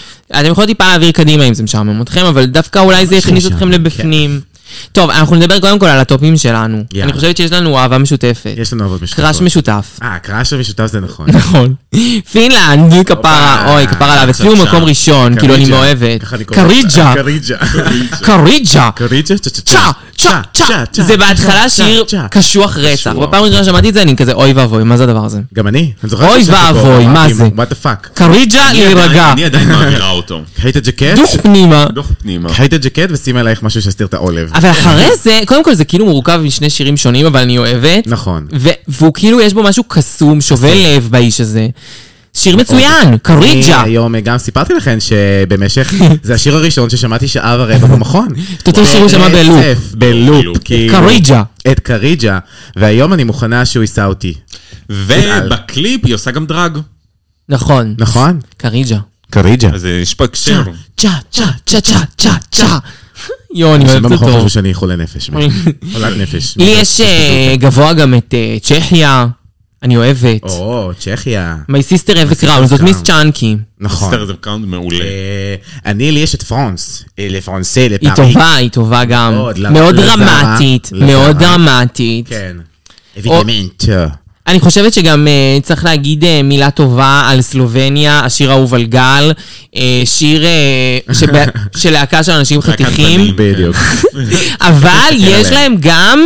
B: אתם יכולות טיפה להעביר קדימה אם זה משעמם אתכם, אבל דווקא אולי זה יכניס
D: לא משעמם, כן.
B: אתכם לבפנים. טוב, אנחנו נדבר קודם כל על הטופים שלנו.
D: יאללה.
B: אני חושבת שיש לנו אהבה משותפת.
D: יש לנו אהבות משותפות.
B: קראש משותף.
D: אה, קראש המשותף זה נכון.
B: נכון. פינלנד, כפרה, אוי, כפרה עליו. אצלי הוא
C: חדשה.
B: מקום ראשון, כאילו אני
D: קריג'ה,
B: מאוהבת.
D: ככה אני קורא לה.
B: קריג'ה, קריג'ה.
D: קריג'ה. קריג'ה? צ'ה, צ'ה,
B: צ'ה, צ'ה, צ'ה. זה בהתחלה
D: צ'ה,
B: שיר
D: צ'ה.
B: קשוח רצח.
D: קשוח.
B: בפעם הראשונה שמעתי את זה, אני כזה, אוי ואבוי, מה זה הדבר הזה?
D: גם אני, אני זוכר
B: אוי
D: שישבתי פה,
B: ואבוי, מה
D: אמרתי,
B: זה?
D: what the fuck.
B: קריג'ה
C: אני עדיין-
B: להירגע.
C: אני עדיין מעבירה אותו.
D: קחי את הג'קט,
B: דוך פנימה.
C: דוח פנימה.
D: קחי את הג'קט ושימי עלייך משהו שיסתיר את העולב.
B: אבל אחרי זה, קודם כל זה כאילו מורכב משני שירים שונים, אבל אני אוהבת.
D: נכון.
B: ו- והוא כאילו, יש בו משהו קסום, נכון. שובה לב באיש הזה. שיר מצוין, קריג'ה.
D: אני היום גם סיפרתי לכם שבמשך, זה השיר הראשון ששמעתי שעה ורבע במכון.
B: את אותו שיר הוא שמע בלופ.
D: רצף, בלופ,
C: בלופ.
D: כאילו.
B: קריג'ה.
D: את קריג'ה, והיום אני מוכנה שהוא יישא אותי,
C: ובקליפ היא עושה גם דרג.
B: נכון.
D: נכון?
B: קריג'ה.
D: קריג'ה.
C: אז אה, יש פה הקשר.
B: צ'ה, צ'ה, צ'ה, צ'ה, צ'ה, צ'ה. יואו, אני
D: אנשים
B: אוהבת
D: במכון
B: אותו.
D: חשבו שאני חולה נפש. באמת. חולת נפש.
B: לי יש אה, גבוה גם את אה, צ'כיה, אני אוהבת.
D: או, צ'כיה.
B: My sister have a crown, זאת
D: crown.
B: מיס צ'אנקי.
D: נכון.
C: סטר זה לא קאונט מעולה.
D: אה, אני, לי יש את פרנס. אה, לפרנסה, לפארי.
B: היא טובה, היא טובה גם.
D: מאוד, למה?
B: מאוד
D: לזרה,
B: דרמטית,
D: לזרה.
B: מאוד דרמטית.
D: כן. אבידמנט.
B: אני חושבת שגם אה, צריך להגיד אה, מילה טובה על סלובניה, השיר האהוב על גל, אה, שיר אה, שב- של להקה של אנשים
C: להקת
B: חתיכים,
C: בנים.
D: בדיוק.
B: אבל יש להם גם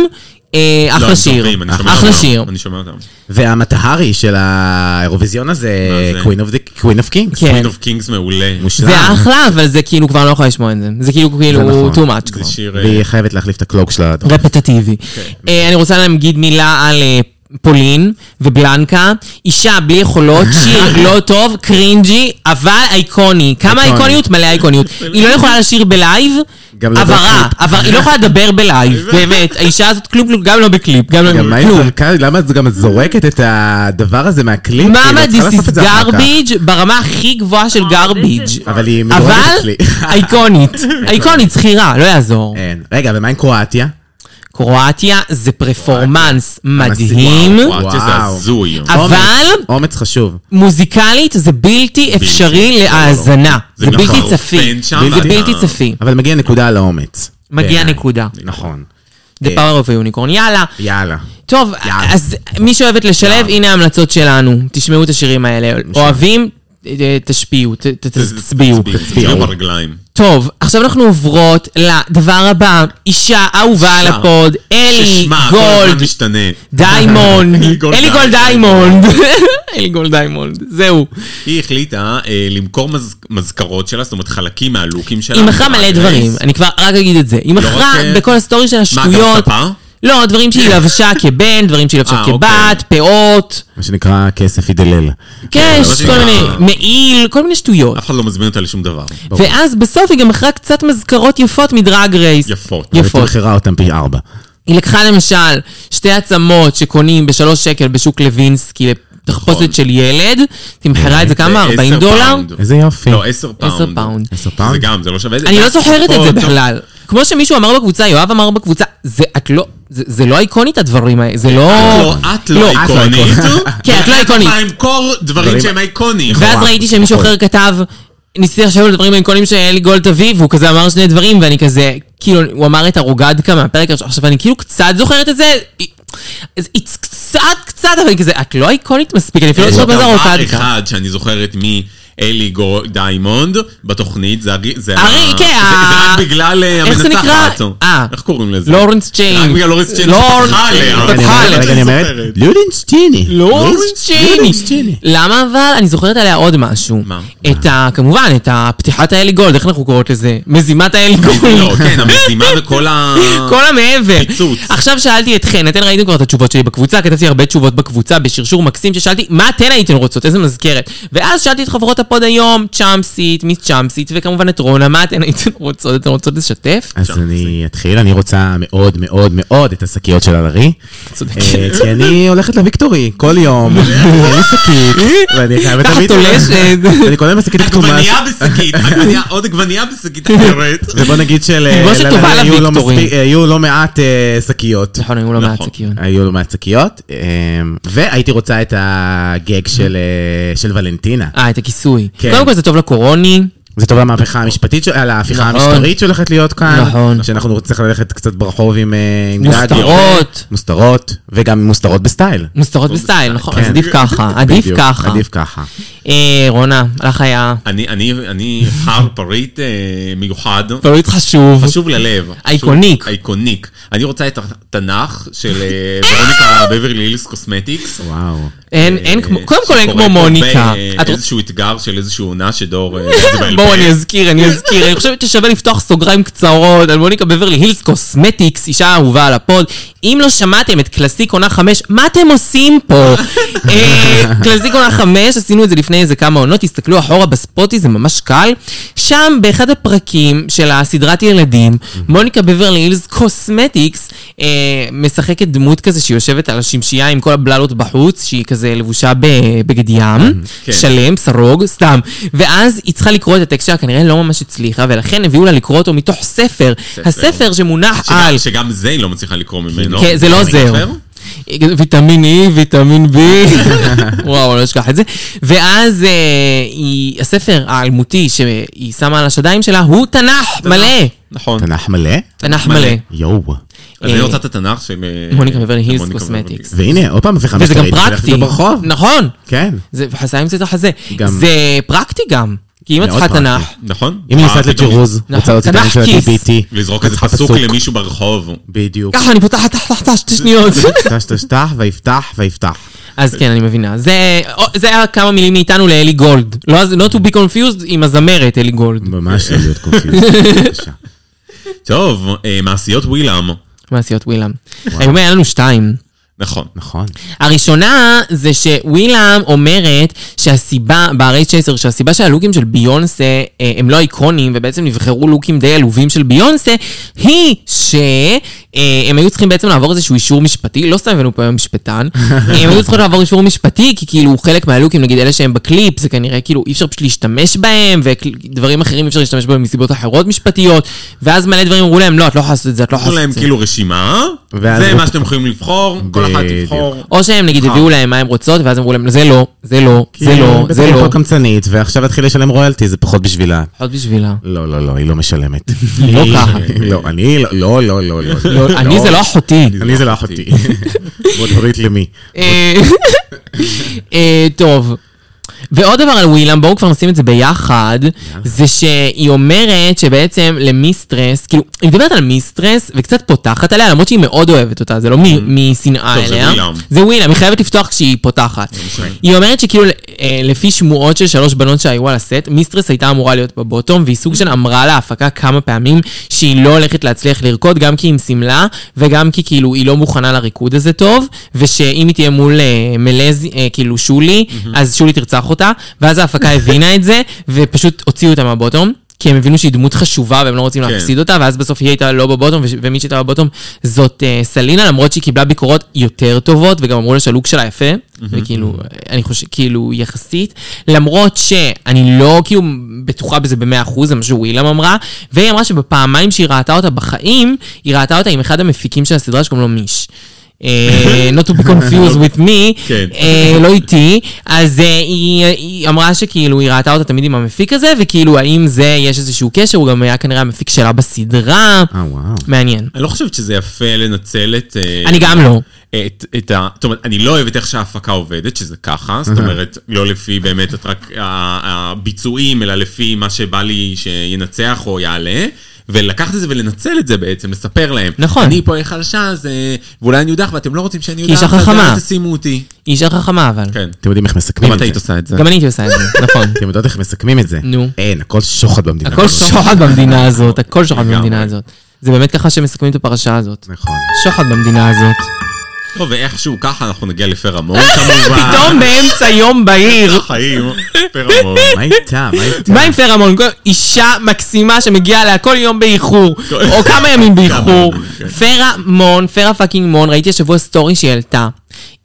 B: אה,
C: לא,
B: אחלה
C: הם
B: שיר.
C: טובים, אני שומע
B: אחלה
C: אותם.
B: שיר.
C: אני שומע אותם.
D: והמטהרי של האירוויזיון הזה,
C: מה זה?
D: Queen of the- Queen of Kings.
B: כן.
C: Queen of Kings מעולה.
D: מושלם.
B: זה אחלה, אבל זה כאילו כבר לא יכול לשמוע את זה. זה כאילו, כאילו,
D: נכון.
B: too much כבר.
C: זה שיר... אה,
D: והיא חייבת להחליף את הקלוק שלה.
B: רפטטיבי.
D: אוקיי.
B: אה, אני רוצה להגיד מילה על אה, פולין ובלנקה. אישה בלי יכולות, שיר לא טוב, קרינג'י, אבל איקוני. כמה
D: איקוני.
B: איקוניות? מלא איקוניות. היא לא יכולה לשיר בלייב,
D: גם לא
B: עברה.
D: בקליפ.
B: עבר- היא לא יכולה לדבר בלייב, באמת. האישה הזאת כלום, כלום, גם לא בקליפ, גם לא
D: גם מה היא
B: כלום.
D: זרקה, למה את גם זורקת את הדבר הזה מהקליפ? כאילו,
B: מאמה
D: את צריכה
B: דיס
D: לעשות
B: איז
D: את זה אחר כך.
B: גרביג' ברמה הכי גבוהה של גרביג'.
D: אבל היא מדורגת
B: אבל
D: אצלי. אה.
B: אייקונית, אייקונית, זכירה, לא יעזור.
D: אין. רגע, ומה עם קרואטיה?
B: קרואטיה זה פרפורמנס מדהים,
D: המסיבה.
C: וואו, זה
D: וואו.
C: הזוי.
B: אבל
D: אומץ, אומץ חשוב.
B: מוזיקלית זה בלתי אפשרי
C: לא, לא, לא.
B: להאזנה.
C: זה
B: זה
C: גם
B: בלתי
C: חרפן
B: צפי.
C: שם, לא כן.
B: זה
C: והיה-
B: בלתי צפי.
D: אבל מגיע נקודה על האומץ.
B: מגיע
D: בעיניי.
B: נקודה.
D: נכון.
B: The power of a unicorn. יאללה.
D: יאללה.
B: טוב,
D: יאללה.
B: אז מי שאוהבת לשלב, הנה ההמלצות שלנו. תשמעו את השירים האלה. אוהבים, אה, תשפיעו, ת- ת- תצביעו.
C: תצביעו ברגליים.
B: טוב, עכשיו אנחנו עוברות לדבר הבא. אישה אהובה על
C: אישה.
B: הפוד, אלי
C: ששמה, כל
B: גולד
C: הזמן משתנה.
B: דיימונד.
C: אלי גולד
B: אלי גולד דיימונד.
C: דיימונד.
B: אלי גולד דיימונד, זהו.
C: היא החליטה אה, למכור מז- מזכרות שלה, זאת אומרת חלקים מהלוקים שלה.
B: היא מכרה מלא
C: מהדרס.
B: דברים, אני כבר רק אגיד את זה. היא מכרה
C: לא רק, אה,
B: בכל הסטורי של
C: מה,
B: השטויות.
C: גם ספה?
B: לא, דברים שהיא לבשה כבן, דברים שהיא לבשה
C: אה,
B: כבת, פאות.
D: מה שנקרא כסף ידלל.
B: כן,
C: לא
B: יש כל
C: יודעת.
B: מיני, מעיל, כל מיני שטויות.
C: אף אחד לא מזמין אותה לשום דבר.
B: ואז בסוף היא גם מכרה קצת מזכרות יפות מדרג רייס.
C: יפות.
B: יפות.
D: הייתי מכירה אותם פי ארבע.
B: היא לקחה למשל שתי עצמות שקונים בשלוש שקל בשוק לוינסקי לתחפושת
C: נכון.
B: של ילד, תמכרה את זה כמה?
C: זה
B: 40
C: עשר
B: דולר?
C: פאונד.
D: איזה יופי.
C: לא, עשר פאונד.
B: עשר פאונד.
D: עשר פאונד?
C: זה גם, זה לא שווה...
B: אני לא זוכרת את זה
C: פה,
B: בכלל. כמו שמישהו אמר בקבוצה, יואב אמר בקבוצה, זה את לא, זה זה לא איקונית הדברים האלה, זה לא...
C: לא, את לא
B: לא,
C: איקונית.
B: כן, את לא איקונית.
C: ואת למכור דברים
D: דברים-
C: שהם איקוניים.
B: ואז
D: וואו,
B: ראיתי שמישהו
D: נכון.
B: אחר כתב, ניסיתי לחשוב על דברים האיקונים שאלי גולד תביא, והוא כזה אמר שני דברים, ואני כזה, כאילו, הוא אמר את הרוגדקה מהפרק הראשון, עכשיו אני כאילו קצת זוכרת את זה, אז it's קצת קצת, אבל אני כזה, את לא איקונית מספיק, אני אפילו לא
C: יש
B: זוכרת מה זה
C: דבר
B: הרוגדקה.
C: אחד שאני זוכרת מאלי גו- דיימונד בתוכנית, זה הג- זה ה-
B: הרי, כן,
C: זה-
B: ה-
C: זה רק בגלל אה,
B: איך זה
C: המנצחת.
B: נקרא? אה.
C: איך קוראים לזה?
B: לורנס צ'יינג.
C: רק בגלל לורנס צ'יינג
B: לורנס
C: שפתחה עליה.
B: צ'יינג.
D: רגע, אני
B: פתחה
D: אומרת-
B: עליה,
D: רגע, אני אומרת,
C: זוכרת.
D: לורנס צ'יני.
B: לורנס
D: לורנס
B: צ'ייני.
D: צ'יני.
B: למה אבל? אני זוכרת עליה עוד משהו.
C: מה?
B: את ה... כמובן, את הפתיחת האלי גולד, איך אנחנו קוראות לזה? מזימת האלי גולד.
C: לא, כן, המשימה וכל ה...
B: כל המעבר.
C: פיצוץ.
B: עכשיו שאלתי אתכן, אתן ראיתם כבר את התשובות שלי בקבוצה, כתבתי הרבה תשובות בקבוצה בשרשור מקסים, ששאלתי מה אתן הייתן רוצות, איזה מזכרת. ואז שאלתי את חברות הפוד היום, צ'אמסית, מיס צ'אמסית, וכמובן את רונה, מה אתן הייתן רוצות? אתן רוצות לשתף?
D: אז אני אתחיל, אני רוצה מאוד מאוד מאוד את השקיות של הלרי.
B: צודקת.
D: אה, כי אני הולכת לוויקטורי כל יום, עם שקית, ואני חייבת
B: ככה
D: להביא את
B: תולשת.
D: אני קונה בשקית הכתומה.
C: עגבנייה בשקית, עגבנייה- עוד עגבנייה בשקית אחרת.
D: ובוא נגיד של... אה,
B: תלבושת
D: ללרי
B: טובה
D: היו לא
B: לוויקטורי.
D: מספיק- אה, היו לא מעט אה, שקיות.
B: נכון, היו לא מעט
C: נכון.
B: סקיון.
D: היו לא מעט שקיות, אה, והייתי רוצה את הגג של, אה, של ולנטינה.
B: אה, את הכיסוי.
D: כן.
B: קודם כל זה טוב לקורוני.
D: זה טוב למהפכה המשפטית, של- על ההפיכה
B: נכון.
D: המשטרית שהולכת להיות כאן.
B: נכון.
D: שאנחנו נצטרך ללכת קצת ברחוב עם... אה, עם גלעד.
B: מוסתרות.
D: מוסתרות, וגם מוסתרות בסטייל.
B: מוסתרות בסטייל, נכון, אז
D: כן.
B: עדיף ככה, עדיף
D: בדיוק,
B: ככה.
D: עדיף ככה.
B: אה, רונה, לך היה
C: אני- אני אני אבחר פריט אה, מיוחד.
B: פריט
D: אה,
B: חשוב.
C: חשוב ללב.
B: אייקוניק.
C: חשוב- אייקוניק. אני רוצה את התנ"ך של אה, ורוניקה בברלי הילס קוסמטיקס.
D: וואו.
B: אין, אין כמו, קודם כל אין
C: שקורה
B: כמו
C: פה
B: מוניקה.
D: אה,
C: ב-
B: את רוצ-
C: איזשהו אתגר של איזושהי עונה שדור... אה, זה בעל
B: בואו
C: פה.
B: אני אזכיר, אני אזכיר. אני חושבת ששווה לפתוח סוגריים קצרות על מוניקה בברלי הילס קוסמטיקס, אישה אהובה על הפוד. אם לא שמעתם את קלאסיק עונה 5, מה אתם עושים פה? אה, קלאסיק עונה 5, עשינו את זה לפני איזה כמה עונות, תסתכלו אחורה בספוטי, זה ממש קל. שם באחד הפרקים של הסדרת ילדים, מוניקה בברלי הילס קוסמטיקס, אה, משחקת דמות כזה שיושבת על השמשייה עם כל הבללות בחוץ, שהיא כזה לבושה בבגד ים,
C: כן.
B: שלם, סרוג, סתם. ואז היא צריכה לקרוא את הטקסט שלה, כנראה לא ממש הצליחה, ולכן הביאו לה לקרוא אותו מתוך ספר. הספר שמונח
C: שגם-
B: על...
C: שגם זה היא לא מצליחה לקרוא ממנו.
B: כן, זה לא עוזר.
C: אחר?
B: ויטמין E, ויטמין B, וואו, לא אשכח את זה. ואז אה, היא- הספר האלמותי שהיא שמה על השדיים שלה הוא תנ"ך מלא.
C: נכון.
D: תנ"ך מלא?
B: תנ"ך
C: מלא.
B: מלא.
D: יואו.
C: אז
B: אה,
C: אני רוצה את התנ"ך של... אה,
B: מוניקה בברלי הילס
C: מוניקה
B: קוסמטיקס.
C: בברלי הילס.
D: והנה, עוד פעם הפיכה
B: וזה
D: משטרית.
B: גם נכון.
D: הולכת
B: פרקטי.
D: ברחוב.
B: נכון.
D: כן.
B: זה חסה עם זה את החזה.
D: גם-
B: זה פרקטי גם. כי אם את
D: מאוד
B: צריכה
D: טראגי.
B: תנ"ך,
C: נכון?
D: אם היא
C: מה
D: נוסעת
C: פתאום
D: לג'ירוז,
B: נכון,
D: רוצה להוציא את
B: תנ"ך
D: הילד של
B: כיס.
D: ה-DBT.
C: לזרוק איזה פסוק למישהו ברחוב.
D: בדיוק.
B: ככה אני פותחת תח תח תח שתי שניות.
D: טש טש טש ויפתח ויפתח.
B: אז כן, אני מבינה. זה או, זה היה כמה מילים מאיתנו לאלי גולד. לא, אז- Not to be confused עם הזמרת אלי גולד.
D: ממש לא להיות קונפיוז.
C: טוב, אה, מעשיות ווילאם.
B: מעשיות ווילם. היום היה לנו שתיים.
C: נכון.
D: נכון.
B: הראשונה זה שווילאם אומרת שהסיבה, ב-RH 10, שהסיבה שהלוקים של ביונסה אה, הם לא איקונים, ובעצם נבחרו לוקים די עלובים של ביונסה, היא שהם היו צריכים בעצם לעבור איזשהו אישור משפטי, לא סתם הבאנו פה היום משפטן, אה, הם היו צריכים לעבור אישור משפטי, כי כאילו חלק מהלוקים, נגיד אלה שהם בקליפ, זה כנראה כאילו אי אפשר פשוט להשתמש בהם, ודברים אחרים אי אפשר להשתמש בהם מסיבות אחרות משפטיות, ואז מלא דברים אמרו להם, לא, את לא יכולה לעשות את זה, את לא יכולה
C: נתנו
B: לעשות
C: להם
B: את זה.
C: כאילו רשימה,
D: ואז
C: זה
D: הוא-
C: מה שאתם יכולים לבחור, כל אחת
D: בדיוק.
C: תבחור.
B: או שהם נגיד הביאו להם מה הם רוצות, ואז אמרו להם, זה לא, זה לא, זה לא, זה
D: כן, בטח היא
B: לא.
D: פה קמצנית, ועכשיו להתחיל לשלם רויאלטי, זה פחות בשבילה.
B: לפחות בשבילה.
D: לא, לא, לא, היא לא משלמת.
B: לא
D: היא-
B: ככה.
D: לא, אני לא, לא, לא, לא, לא.
B: לא, אני זה לא אחותי.
D: אני זה לא אחותי. בוא תברית למי.
B: אה, אה, טוב. ועוד דבר על ווילם, בואו כבר נשים את זה ביחד, זה שהיא אומרת שבעצם למיסטרס, כאילו, היא מדברת על מיסטרס וקצת פותחת עליה, למרות שהיא מאוד אוהבת אותה, זה לא מ- משנאה
C: טוב, זה
B: אליה.
C: ווילם.
B: זה ווילם, היא חייבת לפתוח כשהיא פותחת. היא אומרת שכאילו, אה, לפי שמועות של שלוש בנות שהיו על הסט, מיסטרס הייתה אמורה להיות בבוטום, והיא סוג של אמרה להפקה כמה פעמים שהיא לא הולכת להצליח לרקוד, גם כי עם שמלה, וגם כי כאילו היא לא מוכנה לריקוד הזה טוב, ושאם היא תהיה מול אה, מלז, אה, כאילו שולי, אז שולי תרצח אותה, ואז ההפקה הבינה את זה, ופשוט הוציאו אותה מהבוטום. כי הם הבינו שהיא דמות חשובה והם לא רוצים
C: כן.
B: להפסיד אותה, ואז בסוף היא הייתה לא בבוטום, וש- ומי שהייתה בבוטום זאת אה, סלינה, למרות שהיא קיבלה ביקורות יותר טובות, וגם אמרו לה שהלוק שלה יפה, וכאילו, אה, אני חושב, כאילו, יחסית, למרות שאני לא כאילו בטוחה בזה ב-100%, זה מה שווילם אמרה, והיא אמרה שבפעמיים שהיא ראתה אותה בחיים, היא ראתה אותה עם אחד המפיקים של הסדרה שקוראים לו מיש. אה, not to be confused with me,
C: כן.
B: אה, לא איתי, אז אה, היא, היא אמרה שכאילו היא ראתה אותה תמיד עם המפיק הזה, וכאילו האם זה, יש איזשהו קשר, הוא גם היה כנראה המפיק שלה בסדרה,
D: אה, וואו.
B: מעניין.
C: אני לא חושבת שזה יפה לנצל את... אה,
B: אני גם לא.
C: את, את ה... זאת אומרת, אני לא אוהבת איך שההפקה עובדת, שזה ככה, זאת אומרת, לא לפי באמת את רק ה- הביצועים, אלא לפי מה שבא לי שינצח או יעלה. ולקחת את זה ולנצל את זה בעצם, לספר להם.
B: נכון.
C: אני פה אהיה חלשה, אז... אה, ואולי אני יודח, ואתם לא רוצים שאני
B: כי
C: יודח,
B: אישה חכמה.
C: אל תשימו אותי.
B: היא אישה חכמה אבל.
C: כן.
D: אתם יודעים איך מסכמים
C: גם
D: את
C: את
D: זה.
C: היית עושה את זה.
B: גם אני הייתי עושה את זה, נכון.
D: אתם יודעות איך מסכמים את זה.
B: נו.
D: אין, הכל שוחד במדינה.
B: הכל שוחד במדינה הזאת, הכל שוחד
C: לגמרי.
B: במדינה הזאת. זה באמת ככה שמסכמים את הפרשה הזאת.
D: נכון.
B: שוחד במדינה הזאת.
C: טוב, ואיכשהו ככה אנחנו נגיע לפרמון כמובן.
B: פתאום באמצע יום בהיר.
C: חיים, פרמון.
D: מה איתה? מה איתה?
B: מה עם פרמון? כל- אישה מקסימה שמגיעה אליה כל יום באיחור, או כמה ימים באיחור.
C: ימים, כן.
B: פרמון, פרה פאקינג מון, ראיתי השבוע סטורי שהיא העלתה.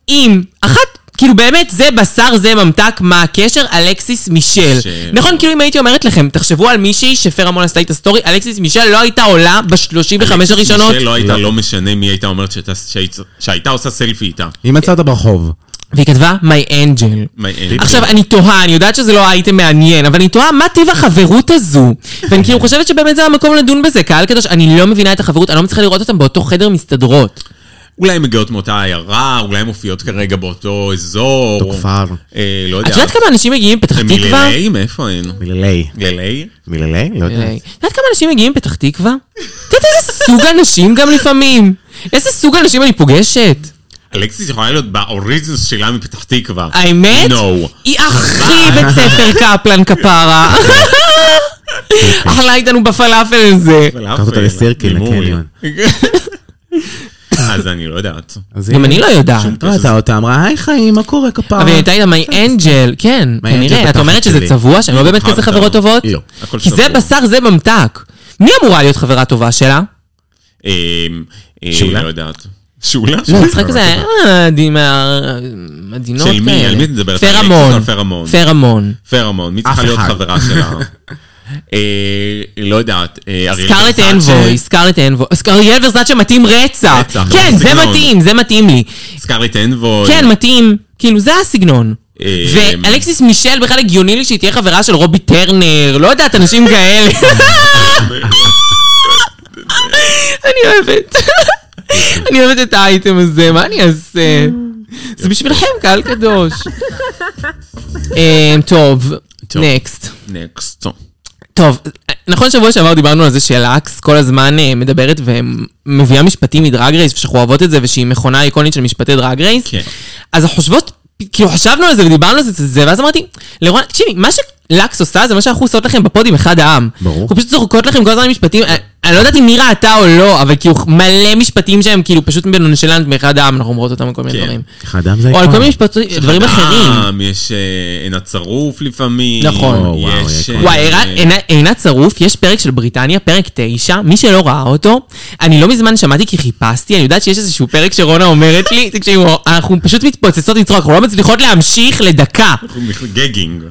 B: עם אחת, כאילו באמת, זה בשר, זה ממתק, מה הקשר? אלכסיס מישל.
C: מישל.
B: נכון, כאילו אם הייתי אומרת לכם, תחשבו על מישהי שפרמון עשתה איתה סטורי, אלכסיס מישל לא הייתה עולה ב-35 הראשונות.
C: מישל לא הייתה, לא משנה מי הייתה אומרת שהייתה- שהיית- שהייתה עושה סלפי איתה.
D: היא מצאה אותה ברחוב.
B: והיא כתבה, My Angel.
C: מה, אין.
B: עכשיו, אני תוהה, אני יודעת שזה לא אייטם מעניין, אבל אני תוהה מה טיב החברות הזו. ואני כאילו חושבת שבאמת זה המקום לדון בזה, קהל קדוש, אני לא מבינה את החברות, אני לא מצליחה לראות אותם באותו חדר מסתדרות.
C: אולי הן מגיעות מאותה עיירה, אולי הן מופיעות כרגע באותו אזור.
D: אותו כפר.
C: אה, לא יודע.
B: את יודעת כמה אנשים מגיעים מפתח
C: הן
B: תקווה?
C: מלילי? מאיפה הן?
D: מלילי.
C: מלילי?
D: מלילי? לא
B: אה,
D: יודעת.
B: את יודעת כמה אנשים מגיעים מפתח תקווה? את יודעת איזה סוג אנשים גם לפעמים? איזה סוג אנשים אני פוגשת?
C: אלכסיס יכולה להיות באוריזנס שלה מפתח תקווה.
B: האמת?
C: No.
B: היא הכי בית ספר קפלן כפרה. אכלה איתנו בפלאפל הזה.
D: לקחת אותה לסירקין,
C: לימוי.
D: לקניון.
C: אז אני לא יודעת.
D: אז
B: גם
D: היא-
B: אני לא יודעת.
D: לא ראתה אותה, אמרה, היי חיים, מה קורה כפרה?
B: אבל היא הייתה איתה מיי אנג'ל, כן,
D: אה, My Angel
B: כנראה. את
D: בתחת
B: אומרת שזה
D: שלי.
B: צבוע, שהן לא באמת כזה
C: אהבת.
B: חברות טובות?
D: לא,
C: הכל
B: כי זה
C: צבוע.
B: בשר, זה ממתק. מי אמורה להיות חברה טובה שלה?
C: אמ, אה,
D: שאולה?
C: לא יודעת. שאולה?
B: לא, משחק כזה, אה, די- מה-
D: לא
B: עדינות
C: של מי?
B: כאלה.
C: על מי את מדברת?
B: פרמון.
C: אלכסיס או פרמון?
B: פרמון.
C: פרמון, מי צריכה
D: אף
C: להיות
D: אחד.
C: חברה שלה? אה, לא יודעת. אה, אריאל
B: סקארלט
C: ורסאצ'ה?
B: אנבוי, סקארלט אנבוי. אריאל ורזאצ'ה מתאים רצח.
C: רצח,
B: כן,
C: זה
B: זה
C: סגנון.
B: מתאים, זה מתאים לי.
C: סקארלט אנבוי.
B: כן, מתאים. כאילו, זה הסגנון.
C: אה,
B: ואלכסיס מישל בכלל הגיוני לי שהיא תהיה חברה של רובי טרנר, לא יודעת, אנשים כאלה. אני אוהבת. אני אוהבת את האייטם הזה, מה אני אעשה? זה בשבילכם, קהל קדוש. אה, טוב,
C: טוב.
B: נקסט.
C: נקסט.
B: טוב, נכון שבוע שעבר דיברנו על זה שלאקס כל הזמן אה, מדברת ומביאה משפטים מדרג רייס, ושאנחנו אוהבות את זה, ושהיא מכונה איקונית של משפטי דרג רייס.
C: כן.
B: אז אנחנו חושבות, כאילו חשבנו על זה ודיברנו על זה, זה- זה, ואז אמרתי, לרון, תקשיבי, מה שלאקס עושה זה מה שאנחנו עושות לכם בפוד עם אחד העם.
D: ברור.
B: אנחנו פשוט זורקות לכם כל הזמן משפטים, אני- אני לא יודעת אם מי ראתה או לא, אבל כאילו מלא משפטים שהם כאילו פשוט בנונשלנט מאחד העם, אנחנו אומרות אותם כל מיני
C: כן.
B: דברים.
D: אחד העם זה
B: או על כל
D: איקונה.
B: מיני משפטים, דברים אחרים.
C: גם, יש אה, עין הצרוף לפעמים.
B: נכון.
D: או, וואו,
C: יש...
D: יקר.
C: אה,
B: וואי, עינת- עינת- עינת צרוף, יש פרק של בריטניה, פרק 9, מי שלא ראה אותו, אני לא מזמן שמעתי כי חיפשתי, אני יודעת שיש איזשהו פרק שרונה אומרת לי, תקשיבו, אנחנו פשוט מתפוצצות לצחוק, אנחנו לא מצליחות להמשיך לדקה
C: גגינג.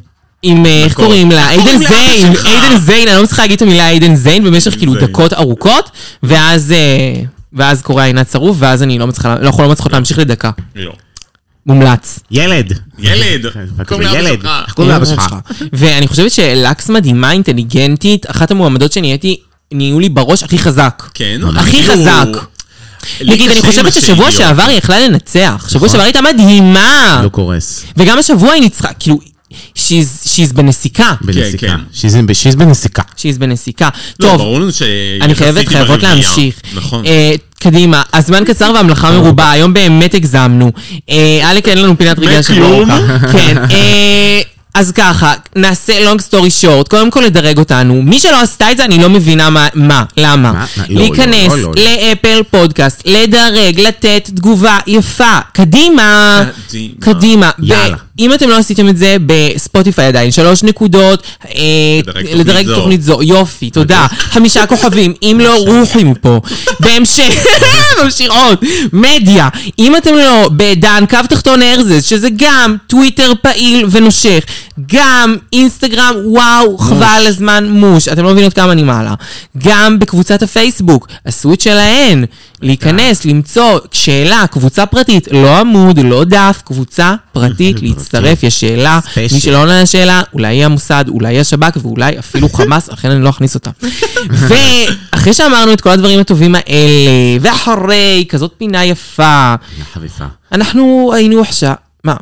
B: עם, אה, איך
C: נכון.
B: קוראים לה,
C: קוראים
B: עדן
C: לאבא
B: זיין,
C: שלך?
B: עדן זיין, אני לא מצליחה להגיד את המילה עדן זיין במשך כאילו
C: זיין.
B: דקות ארוכות, ואז... אה, ואז קורא עינת צרוף, ואז אני לא מצליחה, לא יכולה לא מצליחות להמשיך לדקה.
C: לא.
B: מומלץ.
D: ילד.
C: ילד! קוראים לאבא
D: כן, ילד.
C: שלך.
D: איך קוראים
B: כן,
C: אה,
D: לאבא שלך?
B: ואני חושבת שלקס מדהימה, אינטליגנטית, אחת המועמדות שאני הייתי, נהיו לי בראש הכי חזק.
C: כן.
B: הכי
C: כאילו,
B: חזק.
C: לי
B: נגיד, אני
C: קשה עם נכון.
B: חושבת ששבוע
C: השאריות.
B: שעבר היא יכלה לנצח. שבוע שעבר הייתה מדהימה.
D: לא קורס.
B: וגם השבוע היא ניצחה, כאילו, she's she's בנסיקה.
D: בנסיקה.
C: כן.
D: שיז in- שיז בנסיקה.
B: she's בנסיקה.
C: לא,
B: טוב,
C: ברור לנו ש...
B: אני חייבת,
C: יחסית עם
B: חייבות
C: הרביעייה.
B: להמשיך.
C: נכון.
B: אה, קדימה, הזמן קצר והמלאכה מרובה, היום באמת הגזמנו. אה, אלק, אין לנו פינת רגע שבוע
C: בכלום.
B: ארוכה. כן, אה, אז ככה, נעשה לונג סטורי שורט, קודם כל לדרג אותנו. מי שלא עשתה את זה, אני לא מבינה מה, מה, למה.
D: מה? לא, לא,
B: להיכנס
D: לא, לא, לא.
B: לאפל פודקאסט, לדרג, לתת תגובה יפה, קדימה.
C: קדימה.
B: קדימה. ב-
D: יאללה.
B: אם אתם לא עשיתם את זה, בספוטיפיי עדיין, שלוש נקודות, אה,
C: לדרג תוכנית
B: לדרג
C: זו.
B: תוכנית זו, יופי, תודה. חמישה כוכבים, אם לא רוחי מפה. בהמשך, ממשיכות, מדיה. אם אתם לא בדן, קו תחתון ארזס, שזה גם טוויטר פעיל ונושך, גם אינסטגרם, וואו, חבל על הזמן, מוש. אתם לא מבינות כמה אני מעלה. גם בקבוצת הפייסבוק, עשו את שלהן. להיכנס, למצוא, שאלה, קבוצה פרטית, לא עמוד, לא דף, קבוצה פרטית, להצטרף, יש שאלה,
D: ספיישל.
B: מי שלא לא עונה לשאלה, אולי היא המוסד, אולי היא השב"כ ואולי אפילו חמאס, לכן אני לא אכניס אותה. ואחרי שאמרנו את כל הדברים הטובים האלה, ואחרי כזאת פינה יפה,
D: חביפה.
B: אנחנו היינו עכשיו... מה?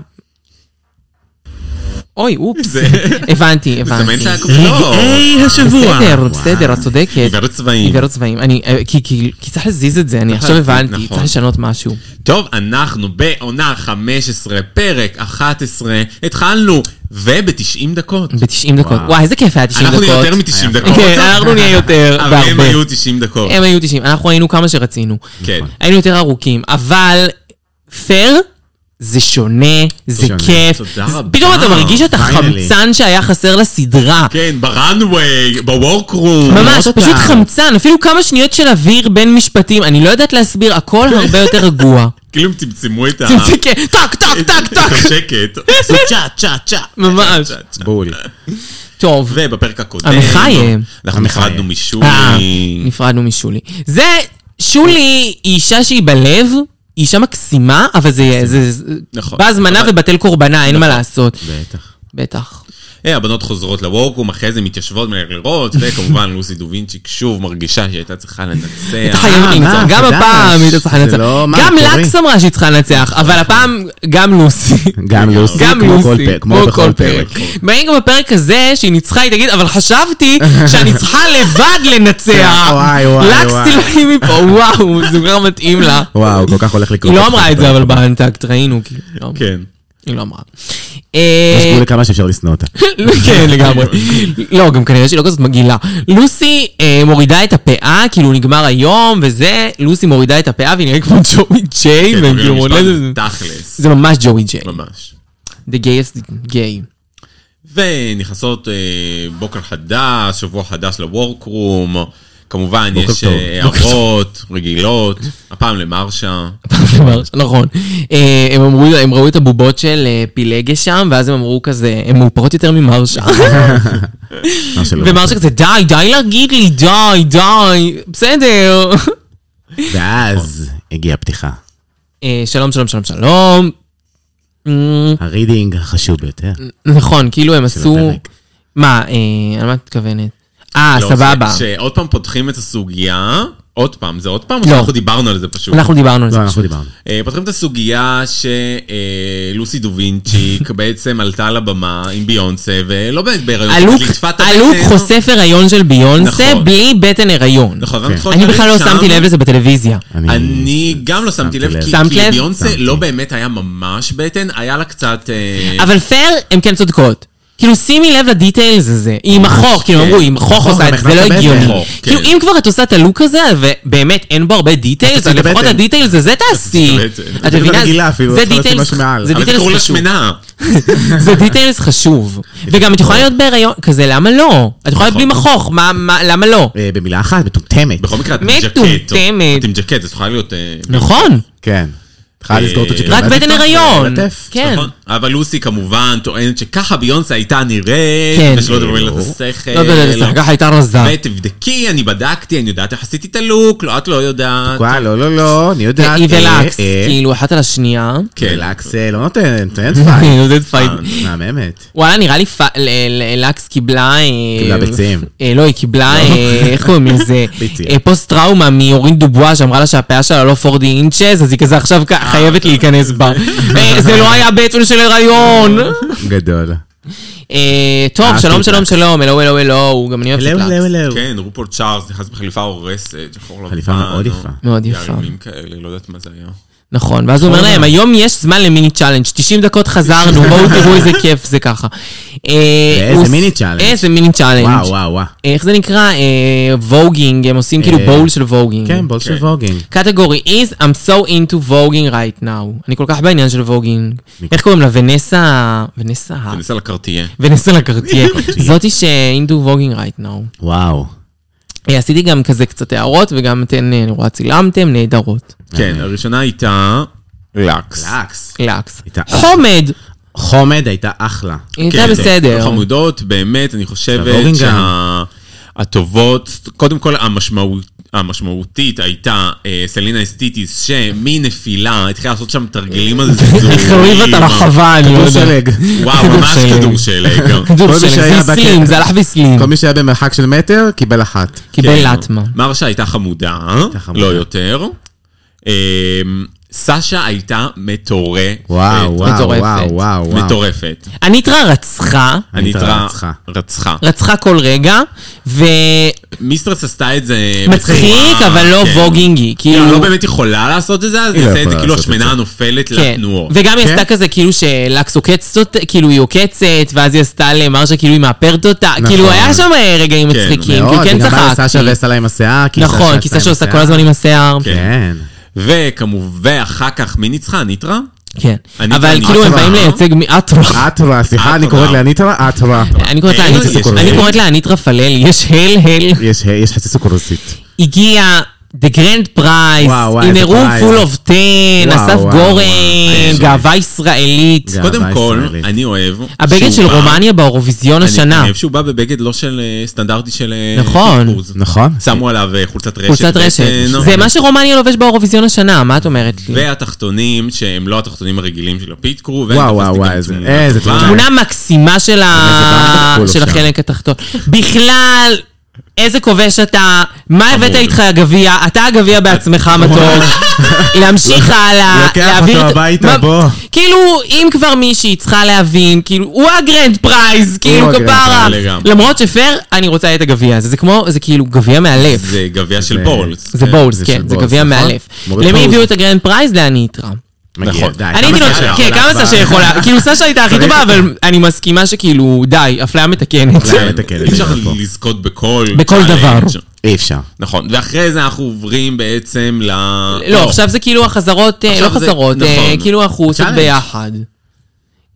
B: אוי, אופס.
C: זה-
B: הבנתי,
C: מסמן
B: הבנתי.
C: את הקבוצות.
D: השבוע.
B: בסדר, בסדר, את צודקת.
C: עיוורת צבעים.
B: עיוור צבעים. אני, אה, כי- כי כי צריך להזיז את זה, אני עכשיו
C: להזיז,
B: הבנתי,
C: נכון.
B: צריך לשנות משהו.
C: טוב, אנחנו בעונה 15, פרק 11, התחלנו, וב-90 דקות.
B: ב-90 דקות.
D: וואו.
B: וואי, איזה כיף היה 90
C: אנחנו
B: דקות.
C: נהיה יותר מ-90 דקות.
B: כן, אנחנו נהיה יותר,
C: אבל הם
B: בהרבה.
C: היו 90 דקות.
B: הם היו 90, אנחנו היינו כמה שרצינו.
C: כן.
B: היינו יותר ארוכים, אבל פייר זה שונה, זה
D: שונה.
B: כיף.
C: תודה
B: זה-
C: רבה.
B: פתאום אתה מרגיש את
D: פיינלי.
B: החמצן שהיה חסר לסדרה.
C: כן, בראנוויי, בוורקרום.
B: ממש,
D: אותה.
B: פשוט חמצן, אפילו כמה שניות של אוויר בין משפטים, אני לא יודעת להסביר, הכל
C: כן.
B: הרבה יותר רגוע.
C: כאילו הם צמצמו את ה...
B: צמצם, כן, טק, טק,
C: את-
B: טק,
C: את
B: טק.
C: השקט. עשו צ'ה, צ'ה, צ'ה.
B: ממש.
C: צ'ה, צ'ה.
D: בול.
B: טוב,
C: ובפרק הקודם...
B: המחאה.
C: אנחנו
D: המחאה.
C: נפרדנו
B: אה,
C: משולי.
B: נפרדנו משולי. זה, שולי היא אישה שהיא בלב, היא אישה מקסימה, אבל זה... זה- זה-
C: נכון.
B: בהזמנה
C: אבל- נכון.
B: ובטל קורבנה, אין מה לעשות.
D: בטח.
B: בטח.
C: אה, הבנות חוזרות לוורקרום, אחרי זה מתיישבות מלראות, וכמובן לוסי דובינצ'יק שוב מרגישה שהיא הייתה צריכה
B: הייתה חייבת
C: לנצח.
D: כן. אה, מה,
B: לנצח, גם
D: חדש?
B: הפעם היא הייתה צריכה
D: זה
B: לנצח.
D: לא- מה, נכון.
B: גם
D: קורה?
B: לקס אמרה שהיא צריכה לנצח, אבל הפעם גם לוסי.
D: גם לוסי,
B: גם
D: כמו כל
B: לוסי,
D: פרק, כמו בכל פרק.
B: מעין גם בפרק הזה, שהיא ניצחה, היא תגיד, אבל חשבתי שאני צריכה לבד לנצח.
D: וואי, וואי,
B: לקס
D: וואי.
B: תלכי מפה, וואו, זה כבר מתאים לה.
D: וואו, כל כך הולך לקרות.
B: היא לא אמרה את זה, אבל באנטקט ראינו, כאילו. לא אמרה.
C: כן.
B: היא לא אמרה.
D: יש
B: אה,
D: גבול לכמה שאפשר לשנוא אותה.
B: כן, לגמרי. לא, גם כנראה שהיא לא כזאת מגעילה. לוסי אה, מורידה את הפאה, כאילו נגמר היום, וזה, לוסי מורידה את הפאה והיא נראית כמו ג'וי ג'יי,
C: כן,
B: והם כאילו
C: משפט
B: מורידים את זה.
C: תכלס.
B: זה ממש ג'וי ג'יי.
C: ממש.
B: The gayest gay.
C: ונכנסות אה, בוקר חדש, שבוע חדש לוורקרום, כמובן
D: בוקר
C: יש
D: טוב.
C: אה, הערות רגילות, הפעם למרשה,
B: נכון. אה, הם אמרו, הם ראו את הבובות של אה, פילגש שם, ואז הם אמרו כזה, הם מאופרות יותר ממרשה.
C: נכון.
D: מה שלא.
B: ומרשה כזה, די, די להגיד לי, די, די, בסדר.
D: ואז הגיעה הפתיחה.
B: אה, שלום, שלום, שלום, שלום. אמ,
D: הרידינג החשוב ביותר.
B: נכון, כאילו הם עשו...
D: הפרק.
B: מה, אה, על מה את מתכוונת? אה,
C: לא,
B: סבבה.
C: ש- שעוד פעם פותחים את הסוגיה, עוד פעם, זה עוד פעם? או
B: לא.
C: שאנחנו דיברנו על זה פשוט.
B: אנחנו דיברנו על זה.
D: לא, אנחנו דיברנו.
C: אה, פותחים את הסוגיה שלוסי דובינצ'יק בעצם עלתה על הבמה עם ביונסה, ולא באמת בהיריון,
B: הלוק,
C: פשוט ליטפה את
B: הלוק
C: הבטן.
B: חושף הריון של ביונסה
C: נכון.
B: בלי בטן הריון.
C: נכון, ואנחנו
B: אני בכלל לא
C: שם.
B: שמתי לב לזה בטלוויזיה.
C: אני גם לא שמתי לב, כי-
B: שמת
C: כי
B: לב?
C: ביונסה
D: שמתי.
C: לא באמת היה ממש בטן, היה לה קצת... אה,
B: אבל פייר, הן כן צודקות. כאילו שימי לב לדיטיילס הזה, היא עם החוך, כאילו
C: כן.
B: אמרו, היא עם החוך
D: החוך,
B: עושה
D: גם
B: את זה, זה לא
D: הכנסת בטן.
B: הגיוני.
C: החוך, כן.
B: כאילו אם כבר את עושה את הלוק הזה, ובאמת אין בו הרבה דיטיילס,
D: נכון, את עושה את
B: לפחות
D: הבטן.
B: הדיטיילס הזה תעשי.
C: את הבטן.
B: את
D: זה
B: מבינה?
D: רגילה אפילו,
B: זה
D: את צריכה לשים
B: דיטיילס
D: משהו מעל.
B: זה
D: אבל
C: אבל זה
B: דיטיילס
C: קראו לה
B: חשוב.
C: שמנה.
B: זה דיטיילס חשוב. וגם את יכולה להיות בהיריון, כזה למה לא? את יכולה להיות
C: נכון.
B: בלי מחוך, מה- מה- למה לא?
D: אה, במילה אחת, מטומטמת.
C: בכל מקרה, את עם
B: מטומטמת.
C: ג'קט. או- את עם ג'קט, אז יכולה להיות... אה,
B: נכון,
D: כן. צריכה לסגור את
C: אה,
D: הג'קט.
B: רק
D: ואז
B: בטן
D: לפתוח,
B: הריון.
D: וללטף.
B: כן.
C: נכון. אבל לוסי כמובן טוענת שככה ביונסה הייתה נראית,
B: כן.
C: ושלא דברים על
D: לא.
C: השכל.
B: לא בטן, זה ככה הייתה רזה.
C: ותבדקי, אני בדקתי, אני יודעת איך עשיתי את הלוק, לא, את לא יודעת.
D: וואי, לא, לא, לא, אני יודעת.
B: היא
D: אה,
B: ולקס,
D: אה,
B: כאילו אחת על השנייה.
C: כן.
D: ולקס אה, לא נותנת, נותנת פייט.
B: היא נותנת פייט.
D: מהממת.
B: וואלה, נראה לי פ- ל- ל- לקס קיבלה... אה,
D: קיבלה ביצים.
B: אה, לא, היא קיבלה, אה, איך קוראים לזה?
D: ביצים.
B: אה, פוסט-טראומה מאורין דובואה שאמרה לה שהפאה שלה לא 40 אינצ'ס, אז היא כזה עכשיו כ-
D: אה, אוקיי.
B: חייבת להיכנס בה. אה, זה לא היה בטן של הריון!
D: גדול.
B: אה, טוב,
D: אהבתי
B: שלום,
D: את
B: שלום,
D: לקס.
B: שלום, אלו, אלו, אלו, גם אני אוהבת את
D: אלו, אלו,
B: לקס.
D: אלו.
C: כן, אה, רופול צ'ארלס נכנס בחליפה הורסת, שחור לבן.
D: חליפה מאוד
C: או-
D: יפה.
B: מאוד יפה.
C: ימים כאלה, לא יודעת מה זה היה.
B: נכון, ואז הוא אומר להם, היום יש זמן למיני צ'אלנג', 90 דקות חזרנו, בואו תראו איזה כיף זה ככה. אה,
D: ואיזה
B: הוא ס-
D: מיני צ'אלנג'.
B: איזה מיני צ'אלנג'.
D: וואו, וואו, וואו.
B: איך זה נקרא? אה, ווגינג, הם עושים כאילו
D: אה,
B: בול של ווגינג.
D: כן, בול של
C: כן.
D: ווגינג.
B: קטגורי is I'm so into voging right now. אני כל כך בעניין של ווגינג. איך קוראים לה? ונסה... ונסה...
C: זה ניסה לקרטיה.
B: ונסה לקרטייה. זאתי ש- into voging right now.
D: וואו.
B: אה, עשיתי גם כזה קצת הערות, וגם אתן, אה, אני רואה, צילמתם, נהדרות.
C: כן, הראשונה הייתה לקס.
D: לקס.
B: לקס.
D: הייתה-
B: חומד!
D: חומד הייתה אחלה.
B: היא
C: כן,
B: הייתה
D: לא
B: בסדר.
C: חמודות, באמת, אני חושבת
D: והבורינג
C: שהטובות, קודם כל המשמעות... המשמעותית הייתה אה, סלינה אסתיטיס שמנפילה התחילה לעשות שם תרגילים על זה.
B: החריב את הרחבה, אני לא
D: כדור
B: יודע.
D: שלג.
C: וואו,
B: כדור
C: ממש
B: שלג.
C: כדור שלג. כן.
B: כדור
D: כל מי
B: שלג, זה
D: שהיה
B: הסלים,
D: בקטע.
B: זה הלך והסלים.
D: כל כן. מי שהיה במרחק של מטר, קיבל אחת.
B: קיבל לטמה.
C: מרשה הייתה חמודה,
D: חמודה.
C: לא יותר. אמ, סשה הייתה מטורפת.
D: וואו, וואו,
B: מטורפת.
D: וואו, וואו. וואו.
C: מטורפת.
B: הניטרה רצחה,
D: הניטרה
C: הניטרה
D: רצחה.
C: רצחה.
B: רצחה כל רגע, ומצחיק,
C: מיסטרס עשתה את זה...
D: אה,
C: בצורה-
B: אבל לא
C: כן.
B: ווגינגי.
C: כאילו,
B: כאילו,
C: לא באמת יכולה לעשות את זה, אז
D: היא לא
C: נעשה את זה
D: יכולה
C: כאילו
D: לעשות את
C: השמנה
D: זה.
C: הנופלת
B: כן.
C: לתנועות.
B: וגם היא
D: כן?
B: עשתה כזה כאילו שלקס עוקצת אותה, כאילו היא עוקצת, ואז היא עשתה למרשה כאילו היא מאפרת אותה.
D: נכון.
B: כאילו היה שם אה, רגעים
C: כן,
B: מצחיקים,
D: מאוד,
B: כאילו כן
D: וגם באה סשה
B: צחקתי.
D: ועשה לה עם השיער. כי
B: נכון, כי
D: עשתה עם
B: סשה עושה כל
D: השיער.
B: הזמן עם השיער.
D: כן.
C: וכמובן, אחר כך, מי ניצחה? הניטרה?
B: כן.
C: אני
B: אבל
C: גם
B: כאילו הם
D: אטרה.
B: באים לייצג מאטרה.
D: עטרה, סליחה, אני
C: עטרה.
D: קוראת לאניטרה עטרה.
B: אני קוראת לה
D: אה,
C: אין,
B: אנית-
C: יש-
B: אני
C: אין.
B: קוראת לה אנית רפאללי, יש הל הל.
D: יש יש חצי סוכרוסית.
B: הגיע The Grand Prize,
D: וואו, וואי,
B: in
D: איזה
B: a room
D: פרייז.
B: full of 10,
D: וואו,
B: אסף
D: וואו,
B: גורן,
D: וואו.
B: גאווה ישראלית.
D: גאווה.
C: קודם כל,
D: הישראלית.
C: אני אוהב...
B: הבגד
C: שהוא
B: של
C: בא-
B: רומניה באירוויזיון
C: אני-
B: השנה.
C: אני אוהב שהוא בא בבגד לא של אה, סטנדרטי של אה,
B: נכון.
C: טיפוס.
D: נכון.
C: שמו עליו אה, חולצת רשת. אה,
B: קבוצת רשת.
C: בטן,
B: זה מה שרומניה לובש באירוויזיון השנה, מה את אומרת לי?
C: והתחתונים שהם לא התחתונים הרגילים של הפיט קרו. ואני
D: וואו,
C: תפסתי
D: וואו,
C: גם
D: וואו, איזה-
C: תמונה
D: איזה
C: טובה.
D: תמונה.
B: תמונה מקסימה של ה-
D: איזה בנדל
B: של
D: כולו
B: החלק התחתון. בכלל, איזה כובש אתה, מה הבאת
C: חמוד.
B: איתך הגביע, אתה הגביע בעצמך מתוק. להמשיך הלאה,
D: לוקח
B: להעביר
D: אותו
B: את-
D: הביתה,
B: מה-
D: בוא.
B: כאילו, אם כבר מישהי צריכה להבין, כאילו, הוא הגרנד פרייז, כאילו,
D: הגרנד
B: כפרה.
C: פרייז, לגמרי.
B: למרות שפר, אני רוצה את הגביע הזה. זה כמו, זה כאילו גביע מאלף.
C: זה גביע של
D: זה-
C: בולס.
B: זה
C: כן.
B: בולס,
D: זה
B: כן,
D: של
B: זה
D: בולס,
B: גביע
D: נכון?
B: מאלף.
D: מוריד
B: למי
D: פאוז.
B: הביאו את הגרנד פרייז? לאני איתרה.
D: מגיע, די.
B: נכון. אני
D: כמה
B: הייתי
D: סשה
B: נותנת, כן,
D: יכולה
B: כמה
D: כבר?
B: סשה יכולה, כאילו סשה הייתה הכי טובה, אבל אני מסכימה שכאילו, די, אפליה מתקנת.
D: אפליה
C: כן,
D: מתקנת,
C: אי אפשר
D: נכון.
C: לזכות בכל...
B: בכל
C: challenge.
B: דבר.
D: אי אפשר.
C: נכון, ואחרי זה אנחנו עוברים בעצם ל...
B: לא, עכשיו זה כאילו החזרות, אה,
C: עכשיו
B: לא
C: זה-
B: חזרות, אה,
C: נכון.
B: כאילו אנחנו עושות
D: צ'אלנג'.
B: ביחד.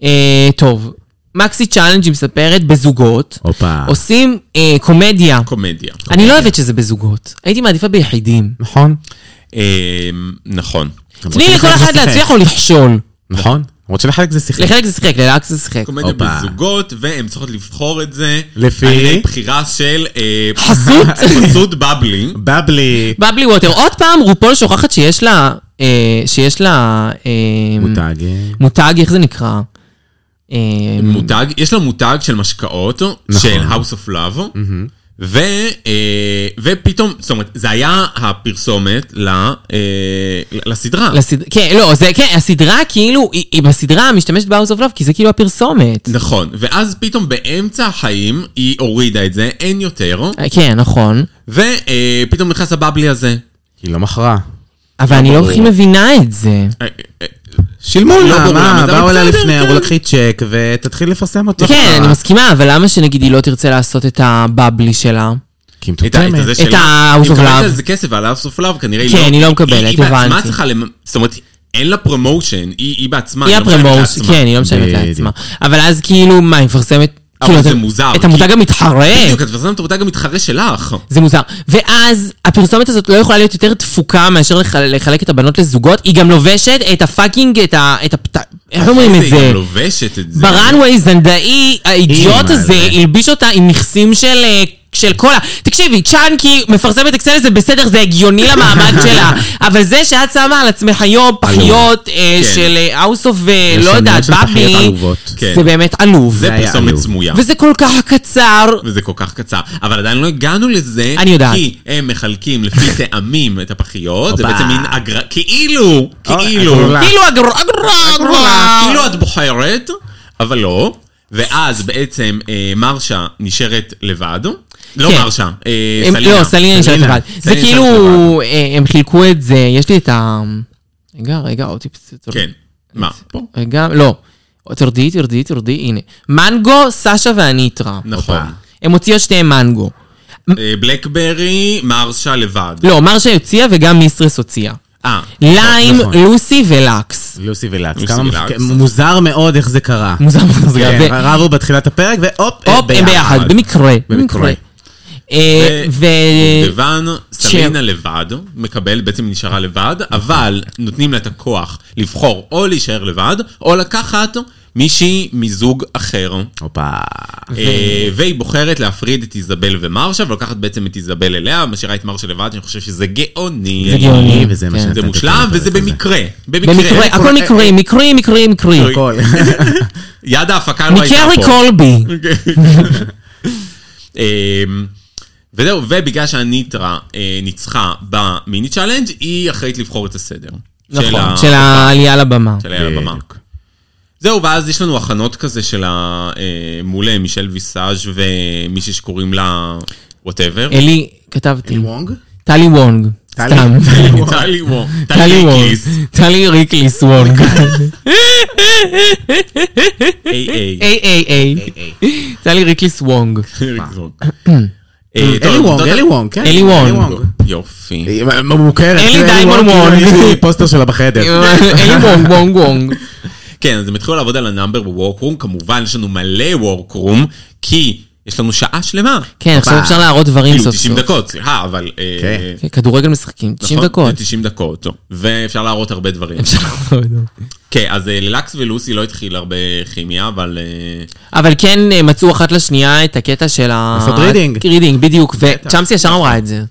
B: אה, טוב, מקסי צ'אלנג' היא מספרת בזוגות,
D: הופה.
B: עושים אה, קומדיה.
C: קומדיה.
B: אני לא אוהבת שזה בזוגות, הייתי מעדיפה ביחידים.
D: נכון. אה,
C: אמ, נכון.
B: תני לכל אחד להצליח או לכשול.
D: נכון. למרות שלחלק זה שיחק.
B: לחלק זה שיחק, ללאקס זה שיחק.
C: קומדיה
D: הופה.
C: בזוגות, והן צריכות לבחור את זה.
D: לפי?
C: על ידי בחירה של... אה,
B: חסות?
C: חסות בבלי.
D: בבלי.
B: בבלי ווטר. עוד פעם, רופול שוכחת שיש לה... אה, שיש לה... אה,
D: מותג.
B: מותג, איך זה נקרא? אה,
D: נכון.
C: מותג, יש לה מותג של משקאות, של House of Love, ו, אה, ופתאום, זאת אומרת, זה היה הפרסומת ל, אה, לסדרה.
B: לסד... כן, לא, זה, כן, הסדרה כאילו, היא, היא בסדרה משתמשת ב-house of love, כי זה כאילו הפרסומת.
C: נכון, ואז פתאום באמצע החיים היא הורידה את זה, אין יותר,
B: אה, כן, נכון.
C: ופתאום נכנס הבבלי הזה.
D: היא לא מכרה.
B: אבל אני לא הכי מבינה את זה.
C: אה, אה,
D: שילמו
C: לא
D: לה,
C: ברור למה,
D: מה,
C: אבל
D: באו אליה
C: בסדר,
D: לפני, אמרו
C: כן.
D: לה קחי צ'ק ותתחיל לפרסם
C: לא
D: אה. אותו.
B: כן, אני מסכימה, אבל למה שנגיד היא לא תרצה לעשות את הבבלי שלה?
D: כי היא
C: את ה- את הזה
D: מטומטמת.
C: שלה.
B: ה-House of
C: היא מקבלת
B: Love.
C: על זה כסף, על ה-House of Love כנראה היא
B: כן,
C: לא...
B: היא לא מקבלת,
C: היא בעצמה
B: הבנתי.
C: צריכה למ... זאת אומרת, אין לה פרומושן, היא היא בעצמה.
B: היא
C: לא משלמת
B: הפרמוס,
C: לעצמה.
B: כן, היא לא משלמת
D: בדיוק.
B: לעצמה. אבל אז כאילו, מה, היא מפרסמת...
C: אבל
B: כאילו,
C: זה
B: את-
C: מוזר,
B: את
C: כי-
B: המותג המתחרה.
C: בדיוק, את מפרסמת את העבודה גם מתחרה שלך.
B: זה מוזר. ואז הפרסומת הזאת לא יכולה להיות יותר תפוקה מאשר לח- לחלק את הבנות לזוגות, היא גם לובשת את הפאקינג, את ה... את הפת... איך אומרים את
C: איזה, היא
B: זה?
C: גם לובשת את זה.
B: ברנווי זנדאי, האידיוט
D: אימא,
B: הזה,
D: זה.
B: הלביש אותה עם מכסים של... אה, של קולה. תקשיבי, צ'אנקי מפרסמת אקסל זה בסדר, זה הגיוני למעמד שלה. אבל זה שאת שמה על עצמך היום פחיות אה,
C: כן.
B: של האוס אוף, לא
D: לשוניות
B: יודעת,
D: של פחיות
B: בבי,
D: עלובות.
C: כן.
B: זה באמת עלוב.
C: זה
D: היה
C: פרסומת
D: עלוב.
C: סמויה.
B: וזה כל כך קצר.
C: וזה כל כך קצר. אבל עדיין לא הגענו לזה.
B: אני יודעת.
C: כי הם מחלקים לפי טעמים את הפחיות. זה
D: הופה.
C: בעצם מין אגרה... כאילו, כאילו.
D: הגרולה.
B: כאילו אגר... אגר...
C: אה,
B: אגר...
C: כאילו את בוחרת, אבל לא. ואז בעצם אה, מרשה נשארת לבד. לא
B: כן.
C: מרשה, אה,
B: הם-
C: סלינה.
B: לא, סלינה נשארת
D: סלינה.
B: לבד. זה
C: סלינה
B: כאילו,
C: נשארת
B: אה, הם חילקו את זה, יש לי את ה... רגע, רגע, עוד טיפס.
C: כן.
B: אה,
C: מה? פה.
B: רגע, לא. תרדי, תרדי, תרדי, הנה. מנגו, סשה והניטרה.
C: נכון.
B: הם הוציאו שתיהם מנגו.
C: אה, בלקברי, מרשה לבד.
B: לא, מרשה הוציאה וגם מיסטרס הוציאה.
C: אה,
B: ליים,
D: נכון.
B: לוסי ולקס.
D: לוסי ולקס.
C: לוסי
D: כמה
C: ולקס.
D: מפק- מוזר מאוד איך זה קרה.
B: מוזר מאוד, זה גם-
D: כן,
B: ו-
D: רבו בתחילת הפרק, והופ,
B: הופ, הם ביחד, במקרה. במקרה. אה,
C: ו-
B: ו...
C: דובדבן, סלינה לבד, מקבל, בעצם נשארה לבד, אבל נותנים לה את הכוח לבחור או להישאר לבד, או לקחת מישהי מזוג אחר.
D: הופה.
C: אה, והיא בוחרת להפריד את איזבל ומרשה, ולוקחת בעצם את איזבל אליה, משאירה את מרשה לבד, שאני חושב שזה גאוני.
B: זה גאוני.
D: אני, וזה מה
B: כן.
D: שנתת
C: זה
D: את
C: מושלם,
D: הפרק
C: וזה
D: הזה.
C: במקרה.
B: במקרה,
C: במקרה.
B: הכל מקרי, מקרי, מקרי, מקרי.
D: הכל.
C: יד ההפקה לא הייתה
B: מקרי
C: פה.
B: קולבי.
C: אמ, וזהו, ובגלל שהניטרה אה, ניצחה במיני צ'אלנג', היא אחראית לבחור את הסדר.
B: נכון, של העלייה לבמה.
C: של העלייה לבמה.
D: בדיוק.
C: זהו, ואז יש לנו הכנות כזה של ה... אה, מול מישל ויסאז' ומישהי שקוראים לה וואטאבר.
B: אלי, כתבתי.
D: וונג?
B: טלי וונג.
D: טלי.
B: סתם.
C: טלי וו-
B: טלי
C: טלי
B: וונג.
C: קיס.
B: טלי ריקליס וונג. אה,
C: איי איי.
B: איי איי איי. טלי ריקליס וונג.
C: אה, טוב,
D: אלי וונג,
C: עובדות-
D: אלי וונג, כן.
B: אלי וונג.
C: יופי.
D: היא מוכרת.
B: אלי דיימון וונג.
D: יש לי פוסטר שלה בחדר.
B: אלי וונג וונג וונג.
C: כן, אז הם התחילו לעבוד על הנאמבר בוורקרום, כמובן יש לנו מלא וורקרום, כי יש לנו שעה שלמה.
B: כן, עכשיו
D: הופה.
B: אפשר להראות דברים
C: כאילו
B: סוף
C: 90
B: סוף.
C: דקות, סליחה, אבל... אה,
D: כן.
C: אה,
B: כן, כדורגל משחקים, 90
C: נכון?
B: דקות.
C: זה 90 דקות, טוב. ואפשר להראות הרבה דברים. כן, אז אה, ללקס ולוסי לא התחיל הרבה כימיה, אבל... אה,
B: אבל כן אה, מצאו אחת לשנייה את הקטע של ה...
D: לעשות רידינג.
B: רידינג, בדיוק, וצ'אמסי ישר אמרה את זה. כן,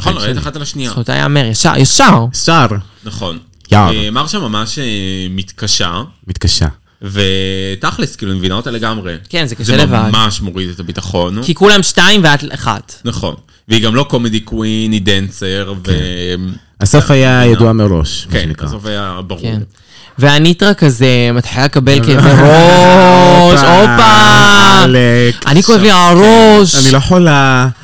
C: נכון, ראית אחת על השנייה.
B: זכותה יאמר, ישר, ישר.
D: שר.
C: נכון.
D: יאללה.
C: אה, מרשה ממש אה, מתקשה,
D: מתקשה.
C: ותכלס, כאילו, אני מבינה אותה לגמרי.
B: כן, זה קשה לבד.
C: זה ממש מוריד את הביטחון.
B: כי כולם שתיים ואת אחת.
C: נכון. והיא גם לא קומדי קווין, היא דנסר, ו...
D: הסוף
B: אה,
D: היה ידוע מראש, כן. מה
C: כן,
D: שנקרא.
C: בסוף היה ברור.
B: כן. והניטרה כזה מתחילה לקבל כאבי ראש, הופה!
D: אלק.
B: אני כואב לי הראש.
D: אני לא יכולה.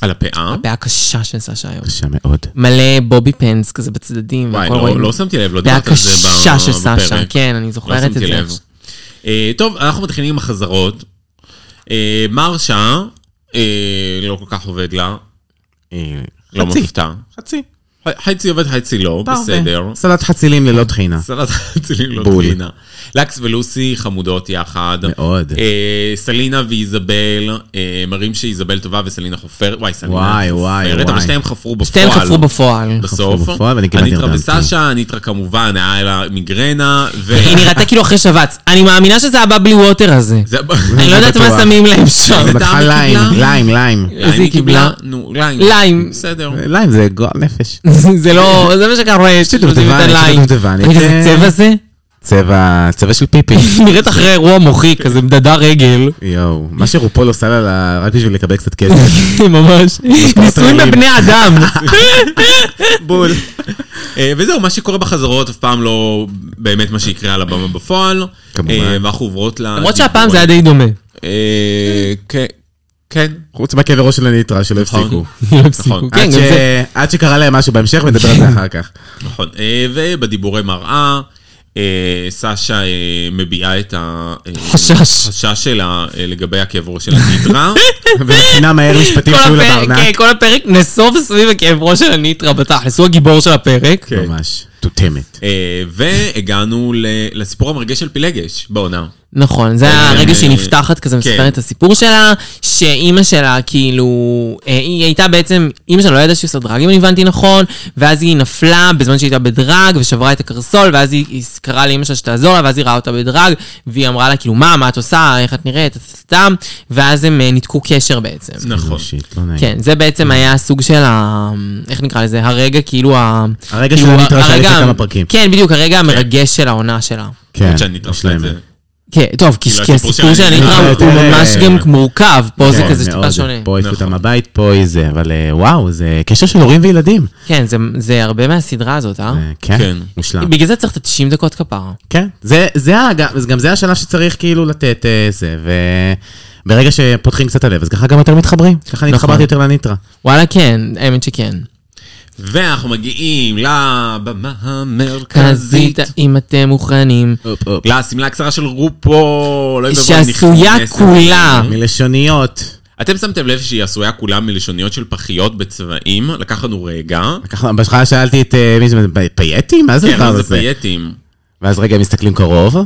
C: על הפאה.
B: הפאה הקשה של סשה היום.
D: קשה מאוד.
B: מלא בובי פנס כזה בצדדים.
C: וואי,
B: והכל
C: לא-
B: רואים.
C: לא שמתי לב, לא
B: פאה
C: דיברת על זה ב-
B: קשה של סשה,
C: בפרק.
B: כן, אני
C: לא
B: זוכרת את
C: שמתי
B: זה.
C: לב. אה, טוב, אנחנו מתחילים עם החזרות. אה, מרשה, אה, לא כל כך עובד לה,
D: אה,
C: לא
D: חצי.
C: מופתע.
D: חצי.
C: חצי עובד, חצי לא, בסדר.
D: סלט חצילים ללא טחינה.
C: סלט חצילים לא
D: בול.
C: טחינה. לקס ולוסי חמודות יחד.
D: מאוד.
C: אה, סלינה ואיזבל, אה, מראים שאיזבל טובה וסלינה חופרת. וואי, סלינה
D: וואי, וואי,
C: חופרת,
D: וואי.
C: אבל שתיהם חפרו בפועל.
B: שתיהם חפרו בפועל.
C: בסוף.
D: חפרו בפועל, ואני כן. כמעט
C: הניטרה
D: נרדמתי.
C: וסשה, הניטרה כמובן, היה לה מיגרנה, ו...
B: היא נראתה כאילו אחרי שבץ. אני מאמינה שזה הבבלי ווטר הזה.
C: זה-
B: אני לא יודעת מה
D: בטוח.
B: שמים להם שם.
D: זה
C: איזה טעם
D: לקחה
C: היא
D: ליים,
C: קיבלה?
D: ליים, ליים.
C: ליים היא
B: קיבלה?
C: נו, ליים.
B: ליים.
C: בסדר.
D: ליים זה גועל נפש.
B: זה לא, זה מה שקורה, שדודבנית
D: דובדבנית, יש
B: עליי.
D: לי דובדבנית.
B: תגיד, איזה צבע זה?
D: צבע, צבע של פיפי.
B: נראית אחרי אירוע מוחי, כזה מדדה רגל.
D: יואו, מה שרופול עושה לה לה רק בשביל לקבל קצת כסף.
B: ממש. ניסויים
D: פרטנרים.
B: בבני אדם.
D: בול.
C: אה, וזהו, מה שקורה בחזרות אף פעם לא באמת מה שיקרה על הבמה בפועל.
D: כמובן.
C: אה, ואנחנו עוברות ל...
B: למרות שהפעם זה היה די דומה.
C: אה, כן, כן.
D: חוץ מהכאב ראש של הניטרה שלא
C: נכון.
D: הפסיקו.
B: לא הפסיקו.
C: נכון.
B: כן,
D: עד
B: גם זה.
D: ש- עד שקרה להם משהו בהמשך, ונדבר על זה אחר כך.
C: נכון, אה, ובדיבורי מראה, אה, סשה אה, מביעה את ה- אה,
B: חשש.
C: החשש שלה אה, לגבי הכאב ראש של הניטרה.
D: ומבחינה מהר משפטים
B: כל
D: שהיו
B: הפרק, כן,
D: לברנק.
B: כל הפרק נסוב סביב הכאב ראש של הניטרה בתכלס, הוא הגיבור של הפרק.
C: כן.
D: ממש, תותמת.
C: אה, והגענו ל- לסיפור המרגש של פילגש בעונה.
B: נכון, זה היה
C: כן,
B: הרגע
C: אה,
B: שהיא נפתחת כזה, מספרת את הסיפור שלה, שאימא שלה כאילו, אה, היא הייתה בעצם, אימא שלה לא ידעה שהיא עושה דרג, אם אני הבנתי נכון, ואז היא נפלה בזמן שהיא הייתה בדרג, ושברה את הקרסול, ואז היא היא קראה לאימא שלה שתעזור לה, ואז היא ראה אותה בדרג, והיא אמרה לה כאילו, מה, מה את עושה, איך את נראית, סתם, ואז הם אה, ניתקו קשר בעצם.
C: נכון.
D: שיט, לא נעים.
B: כן, זה בעצם היה סוג של ה... איך נקרא לזה? הרגע כאילו ה...
D: הרגע
B: כאילו,
D: של הניטרה שהיה
B: הרגע-
D: לפני כמה פרקים.
B: כן, בדיוק, הרגע המרגש של העונה שלה.
D: כן,
C: שהניטרה עשתה את
D: מושלמת.
C: זה.
B: כן, טוב, כי
C: כאילו,
B: כי
C: הסיפור
B: הסיפור של
C: של
B: הנקרא
D: הניטרה
B: הוא
D: יותר,
B: ממש
D: אה,
B: גם מורכב, פה זה
D: כן,
B: כזה טיפה
D: מאוד.
B: שונה.
D: פה העיפו אותם
C: נכון.
D: הבית, פה היא זה, אבל אה, וואו, זה קשר של הורים וילדים.
B: כן, זה- זה הרבה מהסדרה הזאת, אה?
D: אה, כן,
C: כן.
D: מושלם.
B: בגלל זה צריך את ה-90 דקות כפרה.
D: כן, זה, זה, ה- גם- אז גם זה השלב שצריך כאילו לתת אה, זה, וברגע שפותחים קצת הלב, אז ככה גם יותר מתחברים. ככה אני
B: נכון.
D: התחברתי יותר לניטרה.
B: וואלה, כן, האמת שכן.
C: ואנחנו מגיעים לבמה המרכזית.
B: כזית, אם אתם מוכנים,
C: לשמלה הקצרה של רופו. לא יודעת, אבל
B: שעשויה
C: נכנסת.
B: כולה.
D: מלשוניות.
C: אתם שמתם לב שהיא עשויה כולה מלשוניות של פחיות בצבעים? לקח לנו רגע.
D: ככה, בהתחלה שאלתי את אה, מי זה, פ- פייטי? מה זה
C: כן,
D: הדבר
C: אבל זה
D: הזה?
C: פייטים.
D: ואז רגע הם מסתכלים קרוב,
C: ו-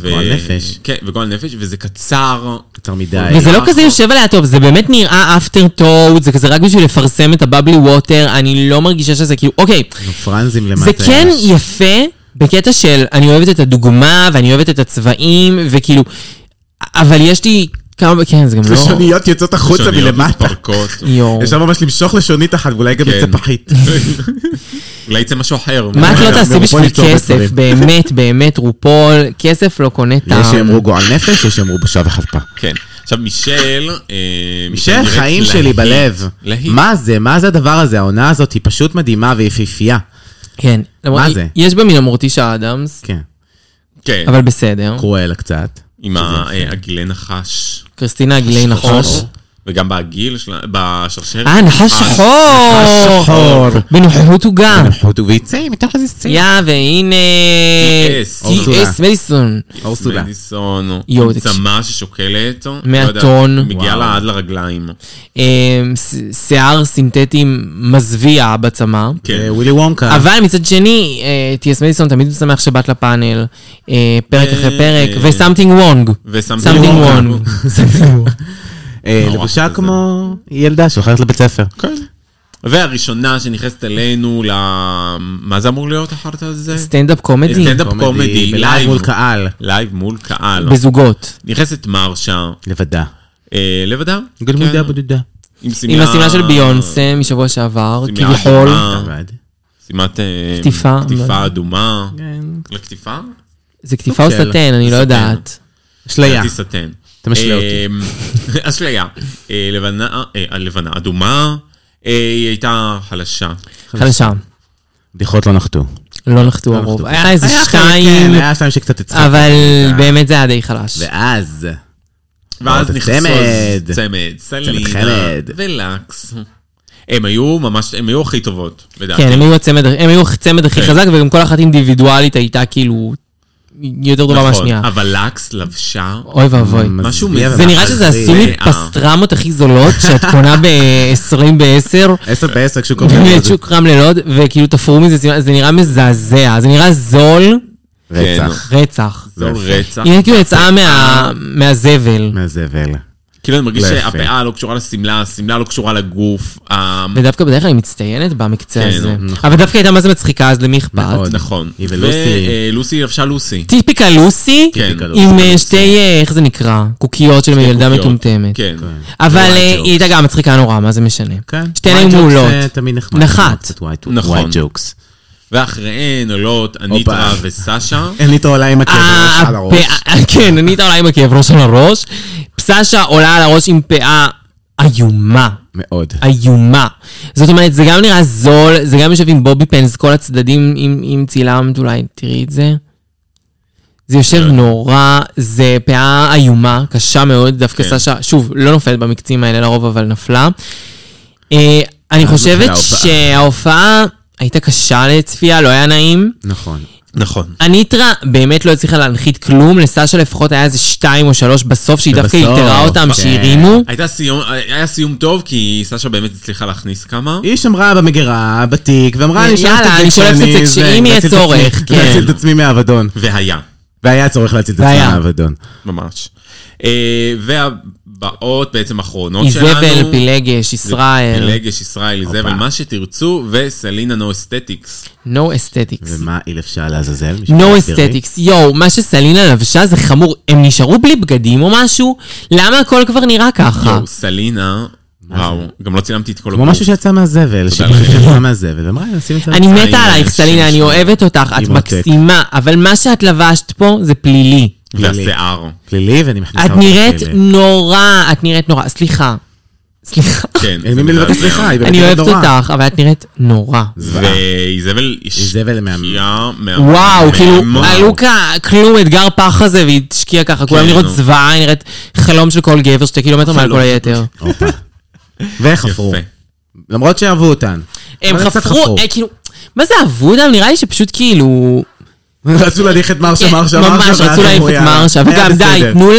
D: וגועל אה, נפש.
C: כן, וגועל נפש, וזה קצר.
D: קצר מדי.
B: וזה לא
C: נכון.
B: כזה יושב עליה טוב, זה באמת נראה אפטר טוד, זה כזה רק בשביל לפרסם את הבבלי ווטר, אני לא מרגישה שזה כאילו, אוקיי,
D: פרנזים למטה.
B: זה כן
D: יש.
B: יפה בקטע של אני אוהבת את הדוגמה ואני אוהבת את הצבעים וכאילו, אבל יש לי כמה, כן זה גם לא,
D: לשוניות יוצאות החוצה
C: לשוניות
D: מלמטה.
C: מתפרקות.
B: יואו.
D: אפשר ממש למשוך לשונית אחת, ואולי גם
C: כן.
D: יצא פחית.
C: אולי יצא משהו אחר. כן.
B: מה את לא
D: מרוב
B: תעשי בשביל
D: ליצור
B: כסף,
D: בדברים.
B: באמת באמת רופול, כסף לא קונה
D: יש
B: טעם.
D: שיאמרו גועל נפש, יש שיאמרו בושה וחרפה.
C: כן. עכשיו מישל... אה,
D: של
C: נראית
D: חיים שלי
C: להיט.
D: בלב.
C: להיט.
D: מה זה? מה זה הדבר הזה? העונה הזאת היא פשוט מדהימה ויפהפייה.
B: כן. למרות-
D: זה?
B: יש בה מן המורטישה אדמס,
D: כן.
C: כן.
B: אבל בסדר.
D: קרואלה קצת.
C: עם ה- אה, הגילי נחש.
B: קריסטינה גילי נחש.
C: שחור. וגם בעגיל, שלה- בשרשרת.
B: אה, נחש שחור!
D: שחור.
B: בנוכחות עוגה.
D: חוטו ויצא מתוך איזה סצנה.
B: יא, והנה...
C: T.S.
B: T.S. מדיסון.
D: אורסולה.
C: מדיסון,
B: יואו, תקשיב.
C: צמא ששוקלת, לא
B: מאה
C: יודע,
B: טון.
C: מגיעה
D: וואו.
C: לה עד לרגליים.
B: אמ, ש- שיער סינתטי מזוויע בצמא.
C: כן.
D: אה, ווילי וונקה.
B: אבל מצד שני, אה, T.S. מדיסון תמיד משמח שבאת לפאנל, אה, פרק
C: אה,
B: אחרי פרק,
C: אה,
B: ו-something wrong.
C: ו-something
B: something
C: wrong.
B: wrong. Something wrong.
D: אה,
C: נורא
D: לבושה
C: כזה.
D: כמו ילדה שהולכת לבית ספר.
C: והראשונה שנכנסת אלינו ל... מה זה אמור להיות החרטא הזה?
B: סטנדאפ קומדי?
C: סטנדאפ קומדי,
D: בלייב
C: לייב.
D: מול קהל.
C: לייב מול קהל.
B: בזוגות.
C: נכנסת מרשה,
D: לבדה.
C: אה, לבדה.
D: גלמודה
C: כן.
D: בודדה.
B: עם השמלה של ביונסה משבוע שעבר,
C: שמלה
B: כביכול.
C: אדומה.
D: עבד.
C: שימת... אה,
B: קטיפה. לא
C: קטיפה אדומה. לקטיפה?
B: זה קטיפה או
D: סוג של-
B: סטן, אני לא
C: סטן.
B: יודעת.
D: אשליה.
C: לדעתי סטן.
D: אתה משלה אותי.
C: אה, אשליה. אה, לבנה, אה, הלבנה אדומה. אה, היא הייתה חלשה.
B: חלשה.
D: בדיחות לא נחתו.
B: לא נחתו הרוב. היה איזה
D: היה חלק,
B: שתיים,
D: כן, היה שתיים שקצת הצחקו.
B: אבל באמת כן, זה היה די חלש.
D: ואז...
C: ואז
D: אמרת,
C: נכנסו
D: צמד.
C: צמד, סלינה
D: חמד.
C: ולקס. הם היו ממש, הם היו הכי טובות, לדעתי.
B: כן, הם היו הצמד, הם היו הצמד הכי חזק, וגם כל אחת אינדיבידואלית הייתה כאילו יותר טובה מהשנייה.
C: נכון. אבל לקס לבשה,
B: אוי ואבוי.
C: משהו
D: מזוויע
C: מזה.
B: זה נראה
D: ומחזיק.
B: שזה עשוי
C: אה.
B: מפסטרמות הכי זולות שאת קונה ב-20 ב-10.
D: עשר בעשר כשהוא קורא
B: באמת,
D: לזה
B: שוק רם ללוד, וכאילו תפרו מזה, זה- זה נראה מזעזע, זה נראה זול
D: רצח.
B: רצח.
C: זה רצח.
B: היא כאילו יצאה
D: אה.
B: מה-
D: כן.
B: מהזבל.
D: מהזבל.
C: כאילו אני מרגיש
D: לא יפה.
C: שהפאה לא קשורה לשמלה, השמלה לא קשורה לגוף. ה-
B: ודווקא בדרך כלל היא מצטיינת במקצה
C: כן,
B: הזה. אבל דווקא הייתה מה זה מצחיקה, אז למי אכפת?
D: נכון. מאוד.
C: נכון.
D: היא ולוסי.
C: ולוסי לבשה לוסי.
B: טיפיקה לוסי,
C: כן.
B: עם אה, שתי, אה, איך זה נקרא? קוקיות של ילדה
C: קוקיות.
B: מטומטמת.
C: כן.
B: אבל
D: אוקיי.
B: אה,
C: White jokes.
B: היא הייתה גם מצחיקה נורא, מה זה משנה?
D: כן.
B: שתיהן היו מעולות.
D: זה תמיד נחמד. כן,
B: נחת.
D: קצת white-
C: נכון.
D: white jokes.
C: ואחריהן עולות אניטרה
D: הופה.
C: וסשה.
D: אין לי את העולה עם הכאב
B: אה,
D: ראש על הראש.
B: הפאה- כן, אני איתה עולה עם הכאב ראש על הראש. פסשה עולה על הראש עם פאה איומה.
D: מאוד.
B: איומה. זאת אומרת, זה גם נראה זול, זה גם יושב עם בובי פנס, כל הצדדים עם, עם צילמת, אולי תראי את זה. זה יושב
C: כן.
B: נורא, זה פאה איומה, קשה מאוד, דווקא
C: כן.
B: סשה, שוב, לא נופלת במקצים האלה לרוב, אבל נפלה. אה, אני חושבת
D: מתחילה ההופעה.
B: שההופעה הייתה קשה לצפייה, לא היה נעים.
D: נכון.
C: נכון.
B: אניטרה באמת לא הצליחה להנחית כלום, לסשה לפחות היה איזה שתיים או שלוש בסוף, שהיא דווקא
D: ובסוף,
B: יתרה אותם,
D: כן.
B: שהרימו.
C: הייתה סיום, היה סיום טוב, כי סשה באמת הצליחה להכניס כמה.
D: היא שמרה במגירה, בתיק, ואמרה, אני שולפת את זה
B: יאללה, אני שולפת את זה כשאם
D: כשאני- זה,
B: יהיה
D: להציל את עצמי-
B: צורך, כן.
D: להציל את עצמי מהאבדון.
C: והיה,
D: והיה צורך להציל את עצמי
B: והיה.
D: מהאבדון.
C: ממש. אה, והבאות בעצם האחרונות שלנו.
B: איזבל, פילגש, ישראל,
C: פילגש, ישראל, איזבל,
D: הופה.
C: מה שתרצו, וסלינה נו אסתטיקס.
B: no aesthetics.
D: ומה היא לבשה לעזאזל? מישהו
B: no
D: יסביר לי?
B: aesthetics, יואו, מה שסלינה לבשה זה חמור, הם נשארו בלי בגדים או משהו? למה הכל כבר נראה ככה?
C: יואו, סלינה, וואו, גם לא צילמתי את כל
D: כמו
C: הגוף.
D: משהו שיצא מהזבל, שפשוט יצא מהזבל, ואמרה, נשים את זה.
B: אני
C: סלינה,
B: מתה עלייך,
C: שם,
B: סלינה, אני
C: שם.
B: אוהבת אותך, את
D: עם עותק.
B: מקסימה, אבל מה שאת לבשת פה זה פלילי.
C: והשיער.
D: פלילי, ואני מכניסה
B: את
D: אותו
B: נראית
D: לכלא.
B: נורא, את נראית נורא, סליחה. סליחה.
C: כן.
D: אין
C: זה
D: ממי לבקש
C: מזעזע.
D: סליחה, היא באמת
B: אני
D: נראית
B: אוהבת
D: נורא.
B: אותך, אבל את נראית נורא.
D: זוועה.
C: ואיזבל
D: איזבל מהמם.
C: השקיעה מהמם.
B: וואו, כאילו,
C: מהמם.
B: הלוקה, כלום, אתגר פח הזה, והיא השקיעה ככה, כולם נראות
C: נו.
B: זוועה, היא נראית חלום של כל גבר, שתי קילומטר מעל
C: חלום.
B: כל היתר.
D: הופה. וחפרו.
C: יפה.
D: למרות שאהבו אותן.
B: הם
D: אבל קצת
B: חפרו, אה, כאילו, מה זה אהבו אותם? נראה לי שפשוט כאילו...
D: רצו להדיח את מרשה,
B: כן,
D: מרשה, מרשה.
B: ממש
D: ואז
B: רצו להעיף
D: אמרו,
B: את
D: יאללה,
B: מרשה,
D: היה
B: וגם די,
D: בסדר.
B: תנו אה,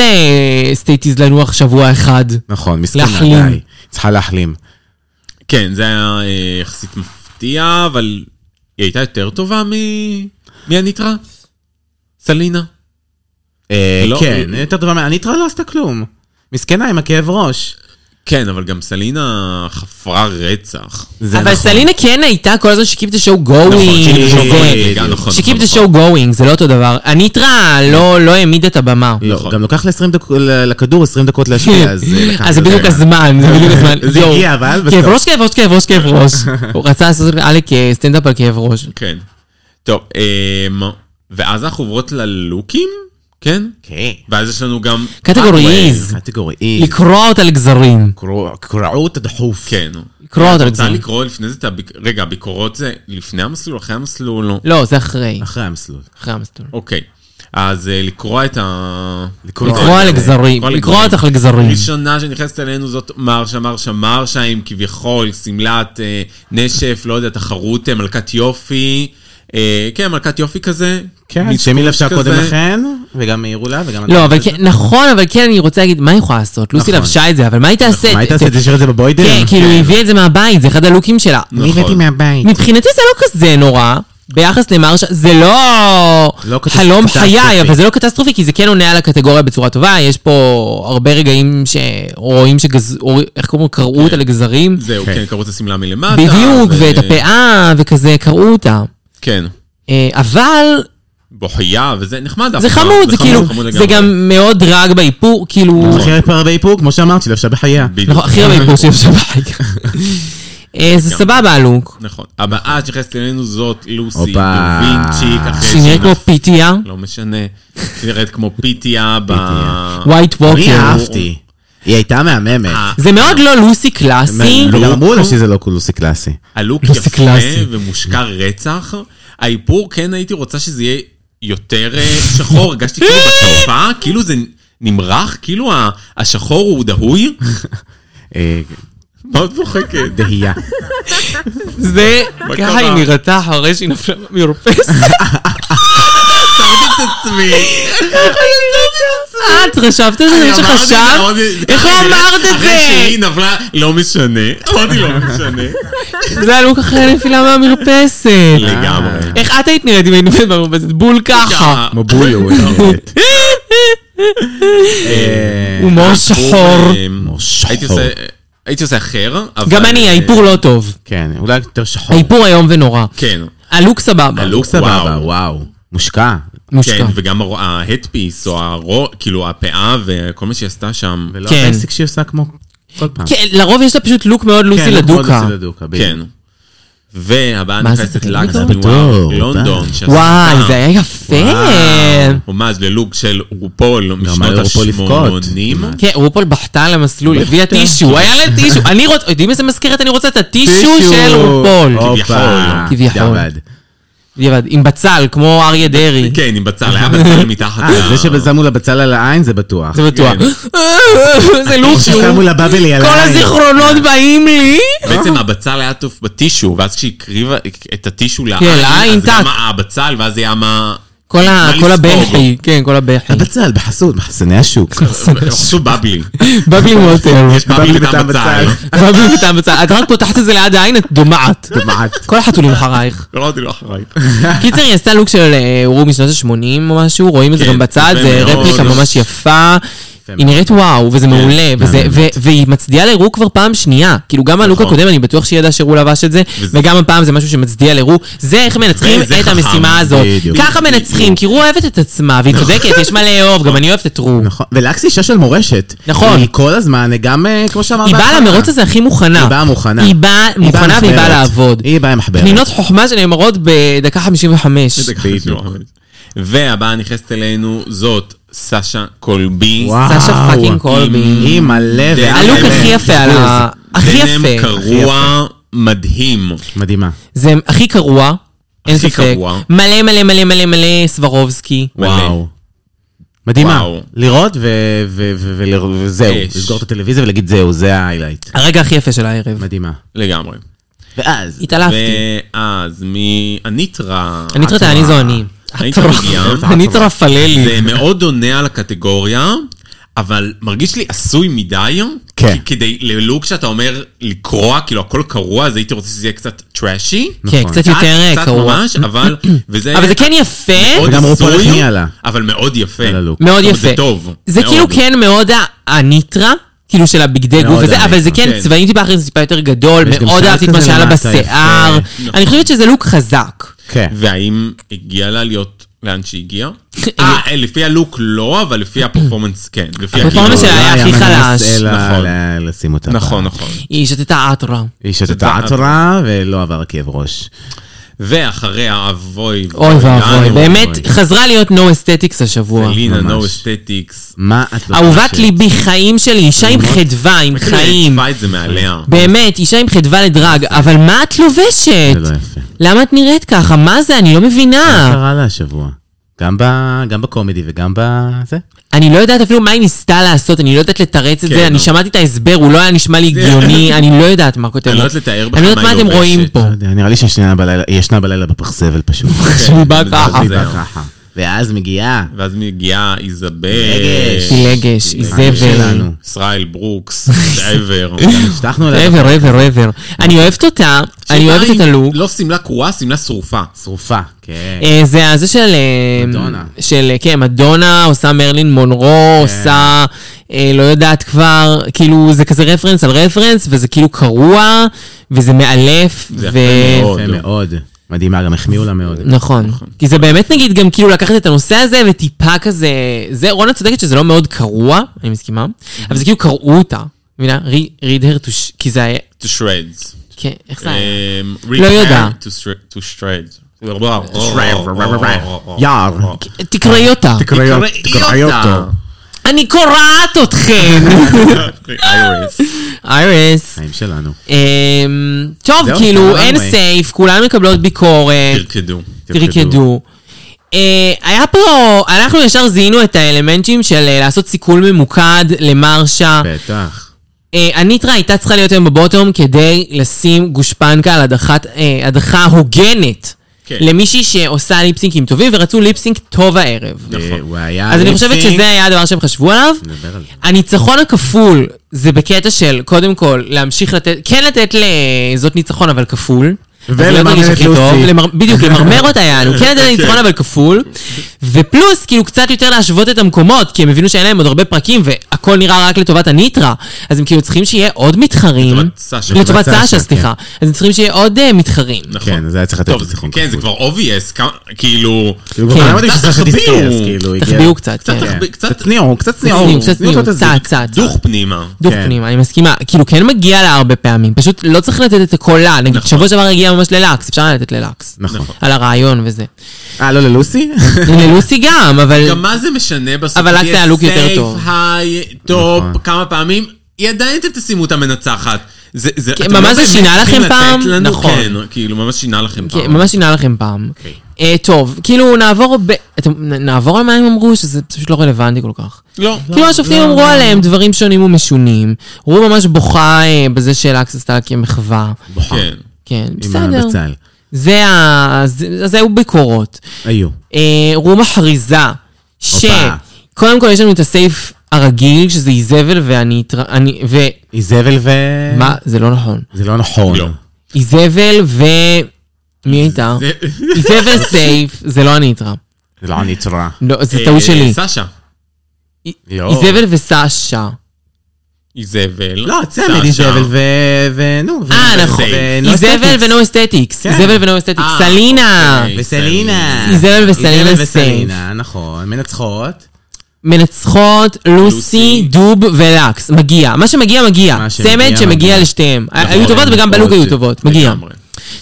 B: לסטייטיז לנוח שבוע אחד.
D: נכון, מסכנה,
B: להחלים.
D: די. צריכה להחלים.
C: כן, זה היה אה, יחסית מפתיע, אבל היא הייתה יותר טובה מ... מהניטרה? סלינה.
D: אה,
C: לא,
D: כן,
C: אה,
D: יותר טובה מה... הניטרה לא עשתה כלום. מסכנה עם הכאב ראש.
C: כן, אבל גם סלינה חפרה רצח.
D: זה
B: אבל
D: נכון.
B: סלינה כן הייתה כל הזמן שקיפ את השואו
C: נכון,
B: גואינג.
C: she keep the show
B: זה-
C: going, רגע, נכון,
B: שקיפ את
C: נכון,
B: השואו גואינג, זה לא אותו דבר. הניטרה לא לא העמיד את הבמה.
D: לא,
C: נכון.
D: גם לוקח ל-20 דקות, ל- לכדור 20 דקות להשקיע, אז... אה, לקח
B: אז זה
D: לזה
B: בדיוק
D: זמן.
B: הזמן, זה בדיוק הזמן.
D: זה
B: יואו.
D: הגיע, אבל
B: כאב
D: בסוף.
B: ראש, כאב ראש, כאב ראש, כאב ראש. הוא רצה לעשות עלק אה, סטנדאפ על כאב ראש.
C: כן. טוב, אמ, ואז אנחנו עוברות ללוקים? כן?
D: כן.
C: ואז יש לנו גם...
D: אה,
B: קטגוריז.
D: קטגורי E.
B: לקרוע אותה לגזרים.
D: קרוע- קרעות הדחוף.
C: כן.
B: לקרוע אותה
C: רוצה
B: לגזרים.
C: לקרוא לפני זה את הביק... רגע, הביקורות זה לפני המסלול, אחרי המסלול? לא.
B: לא, זה אחרי.
D: אחרי המסלול.
B: אחרי המסלול.
C: אוקיי. אז אה, לקרוע את ה...
D: לא,
B: לקרוע לגזרים. לקרוע אותך לגזרים.
C: ראשונה שנכנסת אלינו זאת מרשה, מרשה, מרשה עם כביכול שמלת אה, נשף, לא יודע, תחרות אה, מלכת יופי. אה, כן, מלכת יופי כזה.
D: כן,
C: מיץ
D: שמי
C: קוץ
D: לבשה קודם
C: כזה.
D: לכן, וגם העירו לה, וגם...
B: לא, אבל כן, נכון, אבל כן, אני רוצה להגיד, מה היא יכולה לעשות? לוסי
D: נכון.
B: לבשה את זה, אבל מה היא תעשה?
D: מה היית עושה? תשאיר את זה בבוידר?
B: כן, כאילו, היא הביאה את זה מהבית, זה אחד הלוקים שלה.
C: אני נכון. הבאתי
D: מהבית.
B: מבחינתי זה לא כזה נורא, ביחס למרשה, זה לא,
D: לא קטס-
B: חלום
D: קטסטרופי.
B: חיי, אבל זה לא קטסטרופי, כי זה כן עונה על הקטגוריה בצורה טובה, יש פה הרבה רגעים שרואים שגז... אור- איך קוראים לו? קרעו אותה לגזרים.
C: זהו,
D: כן.
C: כן, קראו את השמלה מלמטה.
B: בדיוק,
C: ו-
B: ואת
D: אה,
B: הפאה, וכזה, קרעו אותה.
C: כן.
B: אה, אבל
C: בוכייה, וזה נחמד.
B: זה
C: דווקא.
B: חמוד, זה
C: חמוד,
B: כאילו,
C: חמוד
B: זה
C: לגמרי. נכון.
B: גם מאוד דרג באיפור, כאילו...
D: הכי הרבה איפור, כמו שאמרת, שהיא לבשה בחייה.
C: בדיוק.
B: נכון, הכי הרבה איפור שיש בבית. אה,
C: כן.
B: זה סבבה הלוק.
C: נכון. הבאה שנכנסת אלינו זאת לוסי
D: הופה.
C: דווינצ'יק, אחרי
B: שהיא נראית כמו
C: נפלה.
B: פיתיה,
C: לא משנה. היא נראית כמו פיתיה ב...
D: פיתיה.
B: ווייט
D: אני
B: ווקר.
D: אהבתי. היא הייתה מהממת.
C: אה,
B: זה מאוד לא לוסי קלאסי.
D: וגם
C: לוק.
D: אמרו לה שזה לא קולוסי קלאסי.
C: הלוק
B: לא, זה
C: יפה
B: קלאסי.
C: ומושקע רצח. האיפור, כן הייתי רוצה שזה יהיה יותר אה, שחור. הרגשתי כאילו בצופה, כאילו זה נמרח, כאילו ה- השחור הוא דהוי.
D: אה,
C: מה את צוחקת?
D: דהייה.
B: זה,
C: מה
B: ככה
C: קרה?
B: היא נראתה אחרי שהיא נפלה במרפסת.
C: עצמי.
B: את חשבת על זה?
C: אני
B: זה
C: אמרתי את זה,
B: שחשבת?
C: אמרתי-
B: איך לא אמרת את
C: אחרי
B: זה?
C: שהיא נפלה, לא משנה. אמרתי לא משנה.
B: זה היה לוק אחרי נפילה מהמרפסת.
C: לא. לגמרי.
B: איך את היית נראית אם היית נופלת במרפסת? בול ככה.
D: כמו בולו. באמת.
C: כן.
D: אה,
B: הומור שחור.
C: אמ,
D: שחור.
C: הייתי עושה- הייתי עושה אחר, אבל... אה,
B: גם אני, האיפור לא טוב.
D: כן, אולי יותר שחור.
B: האיפור איום ונורא.
C: כן.
B: הלוק סבבה.
C: הלוק
D: לוק סבבה,
C: וואו.
D: וואו. מושקע.
B: מושקע.
C: כן, וגם ההדפיס, או הרו... כאילו, הפאה וכל מה שהיא עשתה שם.
D: ולא
B: כן.
D: הפסק שהיא עושה כמו כל פעם.
B: כן, לרוב יש לה פשוט לוק מאוד
D: כן,
B: לוסי
D: מאוד
B: לדוקה.
D: לוסי לדוקה, בדיוק.
C: כן. והבאה
B: מה זה,
C: נכנסת
B: תגיד
C: לקס
B: אותו?
D: בדור,
C: בנואר, לונדון.
D: די.
C: שעשתה
B: וואי, זה היה יפה.
C: הומאז' ללוג של רופול משנות
D: היה רופול לבכות.
C: ה-80.
B: כן, רופול בכתה על המסלול, הביאה
D: בכתה.
B: טישו, היה לה טישו. אני רוצה, יודעים איזה מזכרת אני רוצה? את הטישו
D: טישו. אוקיי.
B: של רופול.
D: הופה,
C: כביכול.
B: כביכול.
D: ירד.
B: בדיעבד, עם בצל, כמו אריה דרעי.
C: כן, עם בצל, היה בצל מתחת
D: אה,
C: ל-
D: זה שבזמו לה בצל על העין זה בטוח.
B: זה בטוח. זה לוק שהוא...
D: ששמו לה בבלי על
B: כל
D: העין.
B: הזיכרונות באים לי.
C: בעצם הבצל היה עטוף בטישו, ואז כשהיא הקריבה את הטישו לעין,
B: כן, לעין,
C: אז גם
B: טק.
C: הבצל, ואז היה מה...
B: כל ה-
C: מה
B: כל
C: לספוג.
B: הבכי, כן, כל הבכי.
D: הבצל בחסות, מחסני השוק.
B: כן.
C: עשו בבלי.
B: בבלי ווטר.
C: יש בבלי וטעם בצל.
B: בבלי וטעם בצל. את רק פותחת את זה ליד העין, את דומעת.
D: דומעת.
B: כל החתולים אחרייך.
C: לא אמרתי לו אחריי.
B: קיצר, היא עשתה לוק של אה, אורו משנות ה-80 או משהו, רואים את זה
C: כן,
B: גם בצד,
C: יפה
B: זה
C: מאוד.
B: רפליקה ממש יפה. היא נראית וואו, וזה מעולה, וזה- ו- והיא מצדיעה לרו כבר פעם שנייה. כאילו, גם הלוק
C: נכון.
B: הקודם, אני בטוח שהיא ידעה שרו לבש את זה,
C: וזה-
B: וגם הפעם זה משהו שמצדיע לרו. זה איך מנצחים
C: וזה
B: את
C: חכם,
B: המשימה הזאת.
D: בדיוק.
B: ככה מנצחים, כי רו אוהבת את עצמה, והיא צודקת, יש מה לאהוב, גם אני אוהבת את רו.
D: נכון. ולקס היא אישה של מורשת.
B: נכון.
D: היא כל הזמן, גם אה, כמו שאמרת.
B: היא באה למרוץ הזה הכי מוכנה.
D: היא באה מוכנה.
B: היא באה מוכנה והיא באה
D: מחברת.
B: לעבוד.
D: היא באה מחברת.
B: פנינות חוכמה שנאמרות בדקה 55.
C: לא והבאה נכנסת אלינו זאת סשה קולבי.
D: וואו.
B: סשה פאקינג קולבי.
D: היא מלא
C: זה
D: ואללה.
B: הלוק
C: באמת,
B: הכי יפה על ה... הכי
C: דנם
B: יפה.
C: קרוע מדהים.
D: מדהימה.
B: זה הכי קרוע, אין
C: הכי
B: ספק.
C: קרוע.
B: מלא מלא מלא מלא מלא סברובסקי.
D: וואו. מדהימה.
C: וואו.
D: לראות ו- ו- ו- ולר- וזהו.
C: אש.
D: לסגור את הטלוויזיה ולהגיד זהו, זה ההיילייט.
B: הרגע הכי יפה של הערב.
D: מדהימה.
C: לגמרי.
D: ואז.
B: התעלפתי.
C: ואז מהניטרה.
B: אני תראה, אני זו אני.
C: היית מגיעה?
B: אני טרפללי.
C: זה מאוד עונה על הקטגוריה, אבל מרגיש לי עשוי מדי.
D: כן.
C: כי כדי ללוק שאתה אומר לקרוע, כאילו הכל קרוע, אז הייתי רוצה שזה יהיה קצת טראשי.
B: כן,
D: נכון.
B: קצת יותר אה,
C: קצת
B: קרוע.
C: ממש, אבל... וזה
B: אבל זה כן יפה,
C: מאוד
D: וגם רופול
C: הזוי,
D: החמיאה לה.
C: אבל מאוד יפה.
D: על הלוק.
B: מאוד
C: אבל
B: יפה.
C: זה טוב.
B: זה
C: מאוד.
B: כאילו כן מאוד ה- הניטרה. כאילו של הבגדי
D: מאוד
B: גוף וזה, אבל זה
D: הניטרה,
B: כן
C: כן.
B: צבעים טיפה אחרים, זה טיפה יותר גדול,
D: ויש גם
B: מאוד
D: שיער
B: אהבתי את מה
D: כזה
B: שהיה לה
D: למטה,
B: בשיער.
C: יפה.
B: אני חושבת שזה לוק חזק.
D: כן.
C: והאם הגיע לה להיות לאן שהגיעה? אה, לפי הלוק לא, אבל לפי הפרפורמנס כן. לפי
B: הפרפורמנס
C: הגיל.
B: שלה
D: לא
B: לא היה הכי חלש.
D: נכון.
C: נכון.
D: לשים אותה.
C: נכון, נכון.
B: היא שתתה עטרה.
D: היא שתתה עצרה ולא עבר כאב ראש.
C: ואחריה, אבוי
B: אוי ואבוי,
C: לנו,
B: באמת
D: אוי.
B: חזרה להיות no aesthetics השבוע.
C: אלינה, no
D: ממש.
C: aesthetics.
D: מה את לא
B: אהובת
D: חושבת?
B: ליבי, חיים שלי, אישה עם חדווה, עם
C: כאילו,
B: חיים.
C: העיפה את זה מעליה.
B: באמת, אישה עם חדווה לדרג, אבל מה את
D: זה לא
B: לובשת?
D: יפה.
B: למה את נראית ככה? מה זה? אני לא
D: מה
B: מבינה.
D: קרה לה השבוע? גם ב- גם בקומדי וגם בזה?
B: אני לא יודעת אפילו מה היא ניסתה לעשות, אני לא יודעת לתרץ את
C: כן,
B: זה, אני
C: נו. שמע-
B: שמעתי את ההסבר, הוא לא היה נשמע לי הגיוני, אני לא יודעת מה כותב.
C: אני לא יודעת לתאר
B: אני לא
C: בכלל
B: יודעת
C: מה
B: מה
C: היא
B: אתם רואים
C: לובשת. אה,
B: פה.
D: לא יודע, נראה לי שישנה בלילה- היא ישנה בלילה בפח זבל פשוט.
B: שהוא בא
C: כן, זה
B: ככה.
D: היא
C: אה, זהו.
D: באה ככה. ואז מגיעה.
C: ואז מגיעה איזבל.
D: רגש.
B: פילגש,
C: אה,
B: איזבל.
D: שלנו.
C: ישראל ברוקס, דייבר.
D: הבטחנו לה
B: רבר, רבר, רבר. אני אוהבת אותה, אני אוהבת את הלוק.
C: לא שמלה קרועה, שמלה שרופה.
D: שרופה. כן.
B: אה, זה הזה של... אה,
D: מדונה.
B: של, אה, כן, מדונה, עושה מרלין מונרו, עושה... אה, לא יודעת כבר, כאילו, זה כזה רפרנס על רפרנס, וזה כאילו קרוע, וזה מאלף,
C: זה
B: ו...
C: יפה מאוד. לא.
D: יפה מאוד. מדהימה, גם החמיאו לה מאוד.
B: נכון. כי זה באמת, נגיד, גם כאילו לקחת את הנושא הזה וטיפה כזה... זה, רונה צודקת שזה לא מאוד קרוע, אני מסכימה, אבל זה כאילו קרעו אותה. מבינה? read her to... sh- כי זה היה...
C: To shreds.
B: כן, איך זה היה?
C: אמ,
B: לא יודע.
C: repair To shred- oh, to shreds. וואו. oh,
D: יער.
B: תקראי אותה.
D: תקראי
C: תקראי אותה.
B: אני קורעת אתכן!
C: איריס.
B: איירס.
D: חיים שלנו.
B: אמ, טוב,
D: זהו,
B: כאילו,
D: סבבה,
B: אין
D: מה?
B: סייף, כולן מקבלות ביקורת,
C: תרקדו.
B: תרקדו. אה, היה פה, אנחנו ישר זיהינו את האלמנטים של אה, לעשות סיכול ממוקד למרשה.
D: בטח.
B: אה, הניטרה הייתה צריכה להיות היום בבוטום כדי לשים גושפנקה על הדחת- אה, הדחה הוגנת.
C: כן.
B: למישהי שעושה ליפסינקים טובים, ורצו ליפסינק טוב הערב.
C: נכון.
D: אה, הוא היה...
B: אז אני חושבת שזה היה הדבר שהם חשבו עליו.
D: נדבר על זה.
B: הניצחון הכפול זה בקטע של, קודם כל, להמשיך לתת, כן לתת לזאת ניצחון, אבל כפול. אז לא
D: ולמרמר
B: תרגיש
D: את
B: הכי
D: לוסי.
B: טוב, למר- בדיוק, למרמר אותה יענו, כן לתת לה ניצחון אבל כפול. ופלוס, כאילו, קצת יותר להשוות את המקומות, כי הם הבינו שאין להם עוד הרבה פרקים, והכל נראה רק לטובת הניטרה. אז הם כאילו צריכים שיהיה עוד מתחרים.
C: לטובת סשה.
B: לטובת
D: לטובת סשה,
B: סשה, סליחה. אז הם צריכים שיהיה עוד אה, מתחרים.
C: נכון.
D: כן, זה היה צריך לתת
C: טוב,
D: את
C: זה-
D: הסיכום
C: כן, זה
D: כפול.
C: כבר obvious, כמה- כאילו...
D: כאילו, כבר אמרתי
C: קצת
D: שסשה
C: תחביאו.
D: דיסטרס, כאילו, הגיע-
B: כן. תחביאו קצת,
C: קצת
B: כן.
C: תחביאו.
D: כן.
C: קצת-
D: קצת צניעות, קצת
B: צניעות,
D: צניעות.
B: קצת צניעות,
D: תזיק.
B: צעד, צעד.
C: דוך פנימה.
B: דוך
D: כן.
B: פנימה, אני מסכימה. כאילו, כן מגיע לה הרבה פעמים, פשוט לא צריך לתת את הכל לה. נגיד,
C: נכון.
B: שבוע שעבר הגיע ממש ללקס, אפשר היה לתת ללקס.
D: נכון.
B: על הרעיון וזה.
D: אה, לא ללוסי?
B: ללוסי גם, אבל...
C: גם מה זה משנה בסוף?
B: אבל רק
C: תהיה
B: זה הלוק יותר
C: safe,
B: טוב.
C: high, טופ,
D: נכון.
C: כמה פעמים, היא עדיין אתם תשימו את המנצחת. זה, זה,
B: כן,
C: אתם
B: ממש
C: לא
B: זה
C: באמת
B: שינה לכם
C: צריכים לתת
B: פעם?
C: לנו,
B: נכון.
C: כן, כאילו, ממש שינה לכם
B: כן,
C: פעם.
B: ממש שינה לכם פעם.
C: אוקיי.
B: אה, טוב, כאילו, נעבור ב... אתם- נ- נעבור על מה הם אמרו, שזה פשוט לא רלוונטי כל כך.
C: לא.
B: כאילו השופטים אמרו עליהם דברים שונים ומשונים. רו ממש בוכה אה, בזה שלקס עשתה לה כמחווה.
C: כן.
B: כן,
D: עם
B: בסדר.
D: הבצל.
B: זה ה... זה- זה היו ביקורות.
D: היו.
B: אה, רום מכריזה ש...
D: הופה.
B: קודם כל יש לנו את הסייף הרגיל, שזה איזבל ואני... אתר- אני- ו...
D: איזבל ו...
B: מה? זה לא נכון.
D: זה לא נכון.
C: לא.
B: איזבל ו... מי הייתה? איזבל סייף, זה לא אני אתרע.
D: זה לא אני צורה.
B: לא, זה
C: אה,
B: טעות שלי.
C: סשה.
B: אי-
D: לא.
B: איזבל וסשה.
C: איזבל.
D: לא, צמד
C: סשה.
D: איזבל ו... ו- נו. ו-
B: אה,
D: ו-
B: נכון.
D: ו-
B: איזבל
D: נוסטטיקס.
B: ונו אסתטיקס.
D: לא כן.
B: איזבל ונו אסתטיקס.
C: אה,
B: סלינה!
C: אוקיי.
D: וסלינה.
B: איזבל וסלינה
D: איזבל
B: סייף.
D: וסלינה, נכון. מנצחות.
B: מנצחות לוסי,
C: לוסי.
B: דוב ולקס. מגיע. מה שמגיע, מגיע.
D: מה שמגיע,
B: צמד
D: מגיע.
B: שמגיע לשתיהם. היו
D: נכון,
B: טובות וגם
D: נכון,
B: בלוג היו
D: ש-
B: טובות. מגיע.
C: לא לגמרי.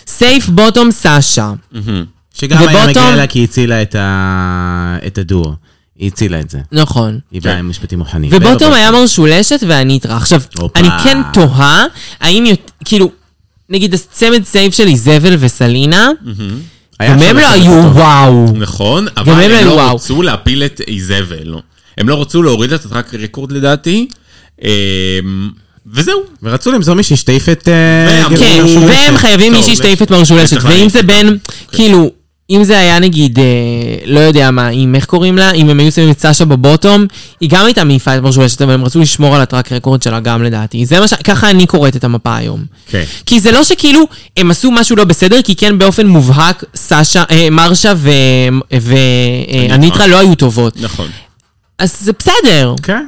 B: סייף בוטום סשה.
D: Mm.
C: מהמם.
D: שגם היה
B: ובוטום-
D: מגיע לה כי היא הצילה את ה... את הדור. היא הצילה את זה.
B: נכון.
D: היא
C: כן.
D: באה עם משפטים מוכנים.
B: ובוטום היה מרשולשת והניטרה. עכשיו,
D: הופה.
B: אני כן תוהה, האם, יות- כאילו, נגיד הצמד סייף של איזבל וסלינה,
D: היה
B: גם
D: אפשר
B: הם לא
D: לעשות
B: היו
D: אותו.
B: וואו.
C: נכון,
B: גם
C: אבל
B: הם
C: הם
B: היו
C: לא
B: וואו.
C: רצו להפיל את איזבל. הם לא רצו להוריד את הטראק ריקורד לדעתי. אמ, וזהו.
D: ורצו למצוא מישהי שתעיף את... אה,
C: והם-
D: גבר
B: כן,
D: משהו.
C: מרשולשת.
B: והם חייבים
C: טוב,
B: מישהי
C: זה-
B: שתעיף את מרשולשת,
C: זה צריך
B: ואם
C: להעיף
B: זה
C: אותה.
B: בין, כאילו, אם זה היה נגיד, אה, לא יודע מה, אם איך קוראים לה, אם הם היו שמים את סשה בבוטום, היא גם הייתה מעיפה את מרשולשת, אבל הם רצו לשמור על הטראק רקורד שלה גם לדעתי. זה מה ש... ככה אני קוראת את המפה היום.
D: כן.
B: כי זה לא שכאילו הם עשו משהו לא בסדר, כי כן באופן מובהק סשה, אה, מרשה ואניטרה לא היו טובות.
C: נכון.
B: אז זה בסדר.
D: כן.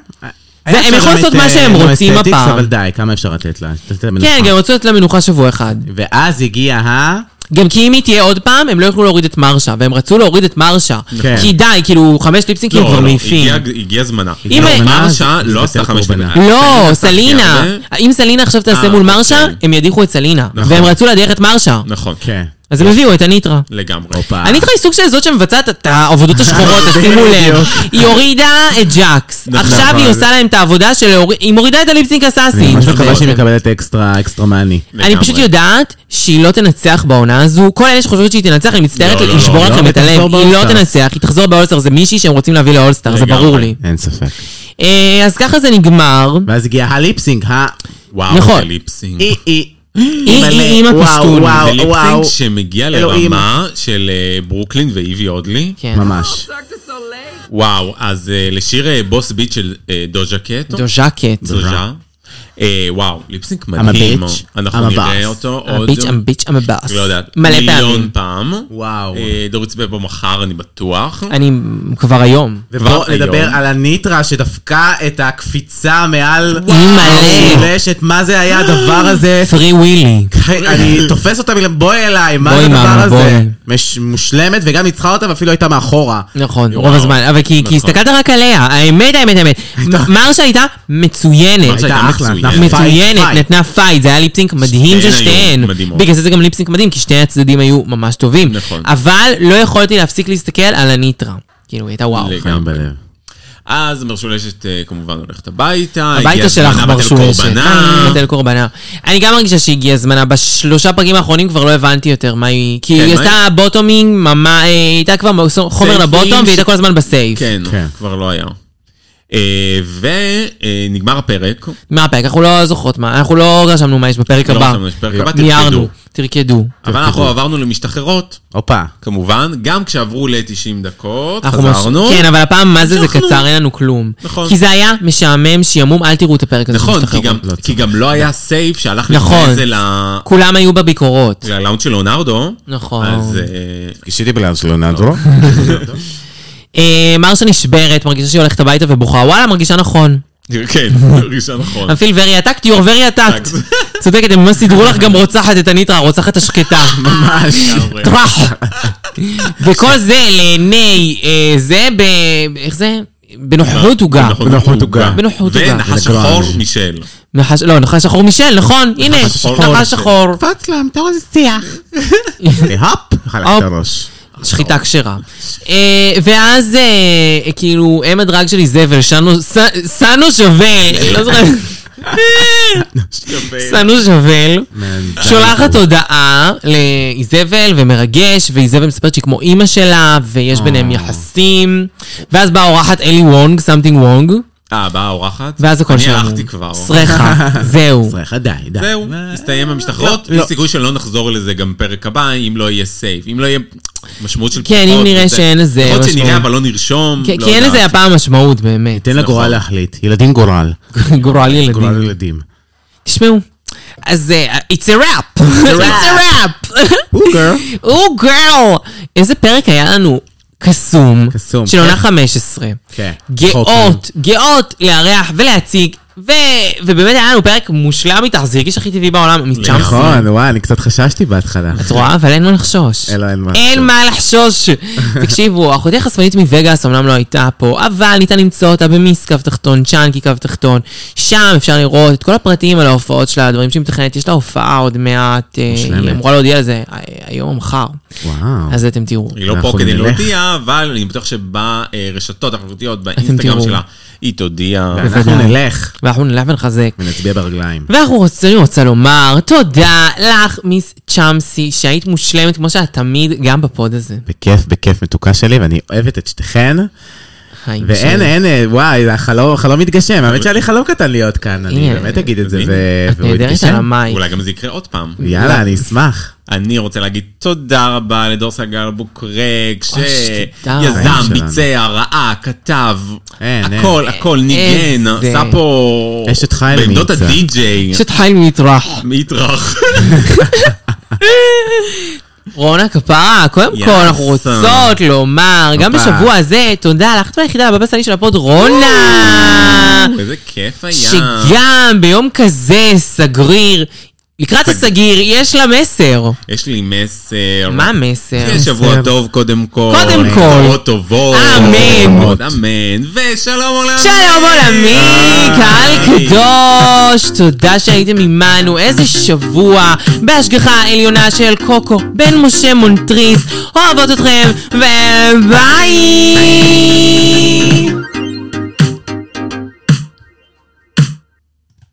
B: זה- הם יכולים לעשות מה שהם רוצים הפעם.
D: אה, אבל די, כמה אפשר לתת לה? לתת לה
B: כן,
D: מנוחה.
B: גם רצו לתת לה מנוחה שבוע אחד.
D: ואז הגיע ה...
B: גם כי אם היא תהיה עוד פעם, הם לא יוכלו להוריד את מרשה, והם רצו להוריד את מרשה.
D: כן.
B: כי די, כאילו, חמש ליפסינקים כבר מעיפים.
C: לא, הגיע- הגיע זמנה.
B: אם-
D: זמנה,
C: מרשה
D: זה-
C: לא
D: זה
C: עשתה
D: יותר
C: חמש
D: קורבנה.
C: דקות.
B: לא,
C: סלינה
B: סלינה.
C: תעשה הרבה.
B: אם סלינה עכשיו תעשה
C: אה,
B: מול מרשה,
C: אוקיי.
B: הם ידיחו את סלינה.
C: נכון.
B: והם רצו להדיח את מרשה.
C: נכון. אה.
D: כן.
B: אז הם הביאו את הניטרה.
C: לגמרי.
D: הופה.
B: הניטרה היא סוג של זאת שמבצעת את העבודות השחורות, אז שימו לב. היא הורידה את ג'קס.
C: נכון,
B: עכשיו היא
C: אבל-
B: עושה להם את העבודה של... להוריד- היא מורידה את הליפסינק
D: אני
B: הסאסי.
D: ממש
B: זה
D: מקווה
B: בעצם.
D: שהיא מקבלת אקסטרה, אקסטרה מאני.
B: אני פשוט יודעת שהיא לא תנצח בעונה הזו. כל אלה שחושבות שהיא תנצח, אני מצטערת
C: לא, לא,
B: לשבור
C: לא,
B: לכם
D: לא,
B: את
D: היא תחזור
B: הלב. היא לא
D: באולסטאר.
B: תנצח, היא תחזור באולסטאר, זה מישהי שהם רוצים להביא לאולסטאר, זה
C: לגמרי.
B: ברור לי.
D: אין ספק.
B: אה, אז ככה זה נגמר.
D: ואז הגיע הליפסינג, ה...
C: וואו,
B: נכון.
C: זה ליפסינג.
D: אי אי.
B: אי,
D: מלא.
B: אי, עם הפשטון.
D: אה, וואו,
C: זה
D: וואו,
C: ליפסינג
D: וואו.
C: שמגיע
D: אלוהים.
C: לרמה של אה, ברוקלין ואיבי אודלי.
B: כן.
D: ממש.
C: וואו, אז אה, לשיר אה, בוס ביט של אה, דוז'ה קט.
B: דוז'קט.
C: דוז'ה. אה, וואו, ליפסינג
D: I'm a
C: מדהים.
D: bitch, I'm
C: אנחנו
D: a
C: נראה
D: boss.
C: אותו עוד...
B: הביץ' אמביץ' אמבאס.
C: לא יודעת.
B: מלא
C: מיליון
B: פעמים.
C: פעם.
D: וואו.
C: אה, דורית סבבה מחר, אני בטוח.
B: אני כבר היום.
D: ובואו
C: כבר
D: נדבר
C: היום.
D: על הניטרה שדפקה את הקפיצה מעל...
B: אימא'לה.
D: רשת, מה זה היה הדבר הזה?
B: פרי ווילי.
D: אני תופס אותה בגלל בואי אליי, מה
B: בואי,
D: זה הדבר
B: מאמה,
D: הזה?
B: בואי.
D: מש- מושלמת, וגם ניצחה אותה ואפילו הייתה מאחורה.
B: נכון,
C: וואו.
B: רוב הזמן, אבל כי כי
C: נכון.
B: הסתכלת רק עליה, האמת, האמת, האמת. מרשה הייתה מצוינת.
C: מרשה הייתה
D: אחלה,
C: מצוינת.
D: נתנה פייט,
B: מצוינת,
D: פייט.
B: נתנה פייט, זה היה ליפסינק מדהים של
C: היו
B: שתיהן.
C: מדהימות.
B: בגלל זה זה גם ליפסינק מדהים, כי שני הצדדים היו ממש טובים.
C: נכון.
B: אבל לא יכולתי להפסיק להסתכל על הניטרה. כאילו, היא הייתה וואו.
D: חיים
C: לגמרי.
D: בלב.
C: אז מרשולשת אה, כמובן הולכת הביתה. הגיע
B: הביתה שלך
C: זמנה בתל
B: מרשולשת.
C: קורבנה.
B: בתל קורבנה. אני גם מרגישה שהגיע זמנה. בשלושה פרקים האחרונים כבר לא הבנתי יותר מה היא... כי
C: כן,
B: היא
C: מה
B: עשתה בוטומינג, ממש... היא הייתה כבר חומר
C: סייפים
B: לבוטום, והיא הייתה
C: ש-
B: כל הזמן בסייף.
C: כן,
D: כן.
C: כבר לא היה. אה, ונגמר הפרק.
B: מה הפרק? אנחנו לא זוכרות מה, אנחנו לא רשמנו מה יש בפרק
C: לא
B: הבא.
C: רשמנו, יש פרק הבא,
B: מיהרנו.
C: תלמדו.
B: תרקדו.
C: אבל אנחנו עברנו למשתחררות,
D: הופה.
C: כמובן, גם כשעברו ל-90 דקות,
B: אנחנו ממש-
C: חזרנו.
B: כן, אבל הפעם מה זה זה
C: המשכנו.
B: קצר, אין לנו כלום.
C: נכון.
B: כי זה היה משעמם, שעמום, אל תראו את הפרק הזה.
C: נכון, כי
B: שמשתחררות.
C: גם-
D: לא
C: כי גם לא היה סייף שהלך
B: נכון.
C: לפני זה ל-
B: כולם היו בביקורות.
C: ללאונד של לאונרדו.
B: נכון.
C: אז אה,
D: גישיתי בלאונד של לונדו.
B: אה, מרשה נשברת, מרגישה שהיא הולכת הביתה ובוכה, וואלה, מרגישה נכון.
C: כן, ראשון נכון.
B: I'm feel very attacked, you're very attacked.
C: Attacked.
B: צודקת, הם ממש סידרו לך גם רוצחת את הניטרה, רוצחת השקטה.
D: ממש.
C: לגמרי.
B: טראח. וכל זה לעיני אה, זה ב... איך זה? בנוכחות עוגה.
D: בנוחות עוגה.
B: אה, בנוחות עוגה.
C: ונחש
D: זה גרנג'.
C: שחור מישל.
B: נחש- לא, נחש שחור מישל, נכון, הנה,
C: שחור
B: נחש
C: מישל.
B: שחור.
D: קפץ להמטור איזה שיח. והופ, חלק את הראש.
B: שחיטה כשרה. אה, ואז אה, כאילו, אם הדרג שלי זבל, שנו- ס- סנו שובל, לא זוכרת, סנו שובל, שולחת הודעה לאיזבל ומרגש, ואיזבל מספרת שהיא כמו אימא שלה, ויש ביניהם יחסים. ואז באה אורחת אלי וונג, סמטינג וונג,
C: אה, באה האורחת?
B: ואז הכל שלנו.
C: אני הלכתי כבר.
B: סרחה, זהו. נכון.
D: צריך, די, די.
C: זהו, הסתיים המשתחררות.
D: לא.
C: יש סיכוי שלא נחזור לזה גם פרק הבא, אם לא יהיה סייף. אם לא יהיה משמעות של
B: כן,
C: פחות
B: אם נראה
C: וזה.
B: שאין לזה
C: יכול להיות
B: משמעות. כן,
C: שנראה, אבל לא נרשום.
B: כי
C: לא
B: כי אין
C: יודעת.
B: לזה הפעם משמעות, באמת.
D: תן לגורל להחליט. ילדים גורל.
B: גורל ילדים.
D: גורל ילדים.
B: תשמעו. אז אה, it's a rap, it's a rap,
D: אוקיי.
B: או גרל. איזה פרק היה לנו קסום,
D: קסום,
B: של עונה
D: כן.
B: 15.
D: כן.
B: גאות, גאות לארח ולהציג, ו- ובאמת היה לנו פרק מושלם איתך, זה הרגיש הכי טבעי בעולם, מצ'אמפ.
D: נכון, וואי, אני קצת חששתי בהתחלה.
B: כן. את רואה? אבל אין מה לחשוש.
D: אין, לא, אין מה
B: אין
D: לחשוש.
B: מה לחשוש. תקשיבו, אחותי החשפנית מווגאס אמנם לא הייתה פה, אבל ניתן למצוא אותה במיס קו תחתון, צ'אנקי קו תחתון. שם אפשר לראות את כל הפרטים על ההופעות שלה, הדברים שהיא מתכננת. יש לה הופעה עוד מעט, אה,
D: מושלמת.
B: היא אמורה להודיע על זה אה, היום או מחר.
D: וואו.
B: אז אתם תראו.
C: היא לא
D: אנחנו
C: פה כדי
D: נלך.
C: להודיע, אבל אני בטוח אה, שברשתות החברתיות, באינסטגרם
B: תראו.
C: שלה, היא תודיע.
D: אנחנו
B: בוודאי.
D: נלך
B: ואנחנו נלך ונחזק.
D: ונצביע ברגליים.
B: ואנחנו רוצים, רוצה לומר תודה לך, מיס צ'אמסי, שהיית מושלמת כמו שאת תמיד, גם בפוד הזה.
D: בכיף, בכיף מתוקה שלי, ואני אוהבת את שתיכן.
B: חיים
D: ואין,
B: שלי.
D: אין, אה, וואי, זה החלום החלום מתגשם. האמת שהיה לי חלום קטן להיות כאן, אני
B: הנה.
D: באמת אגיד את זה,
C: הנה.
D: ו-
B: את
D: אה, והוא
B: נהדרת על
D: יתגשם.
B: המייק.
C: אולי גם זה יקרה עוד פעם.
D: יאללה, אני אשמח.
C: אני רוצה להגיד תודה רבה לדור סגל בוקרק,
B: אוי, שתודה.
D: חיים
C: שיזם,
D: שלנו.
C: ביצע, ראה, כתב,
D: אין, אין.
C: הכל, הכל ניגן,
B: איזה.
C: עשה פה...
D: אשת חיל
C: בעמדות
D: נמצא.
C: הדי-ג'יי.
B: פשוט חיים מתרח.
C: מטרח.
B: רונה כפרה, קודם
C: יאס.
B: כל אנחנו רוצות לומר, גם
D: הופה.
B: בשבוע הזה, תודה לך, את היחידה הבבא סאלי של הפוד, רונה!
C: איזה כיף היה.
B: שגם ביום כזה, סגריר, לקראת הסגיר, יש לה מסר.
C: יש לי מסר.
B: מה המסר?
C: כן, שבוע
D: מסר.
C: טוב קודם כל.
B: קודם כל.
C: בשורות טובות.
B: אמן.
C: אמן. ושלום עולמי.
B: שלום עולמי,
C: אה.
B: קהל קדוש, תודה שהייתם עימנו, איזה שבוע בהשגחה העליונה של קוקו בן משה מונטריס, אוהבות אתכם, וביי!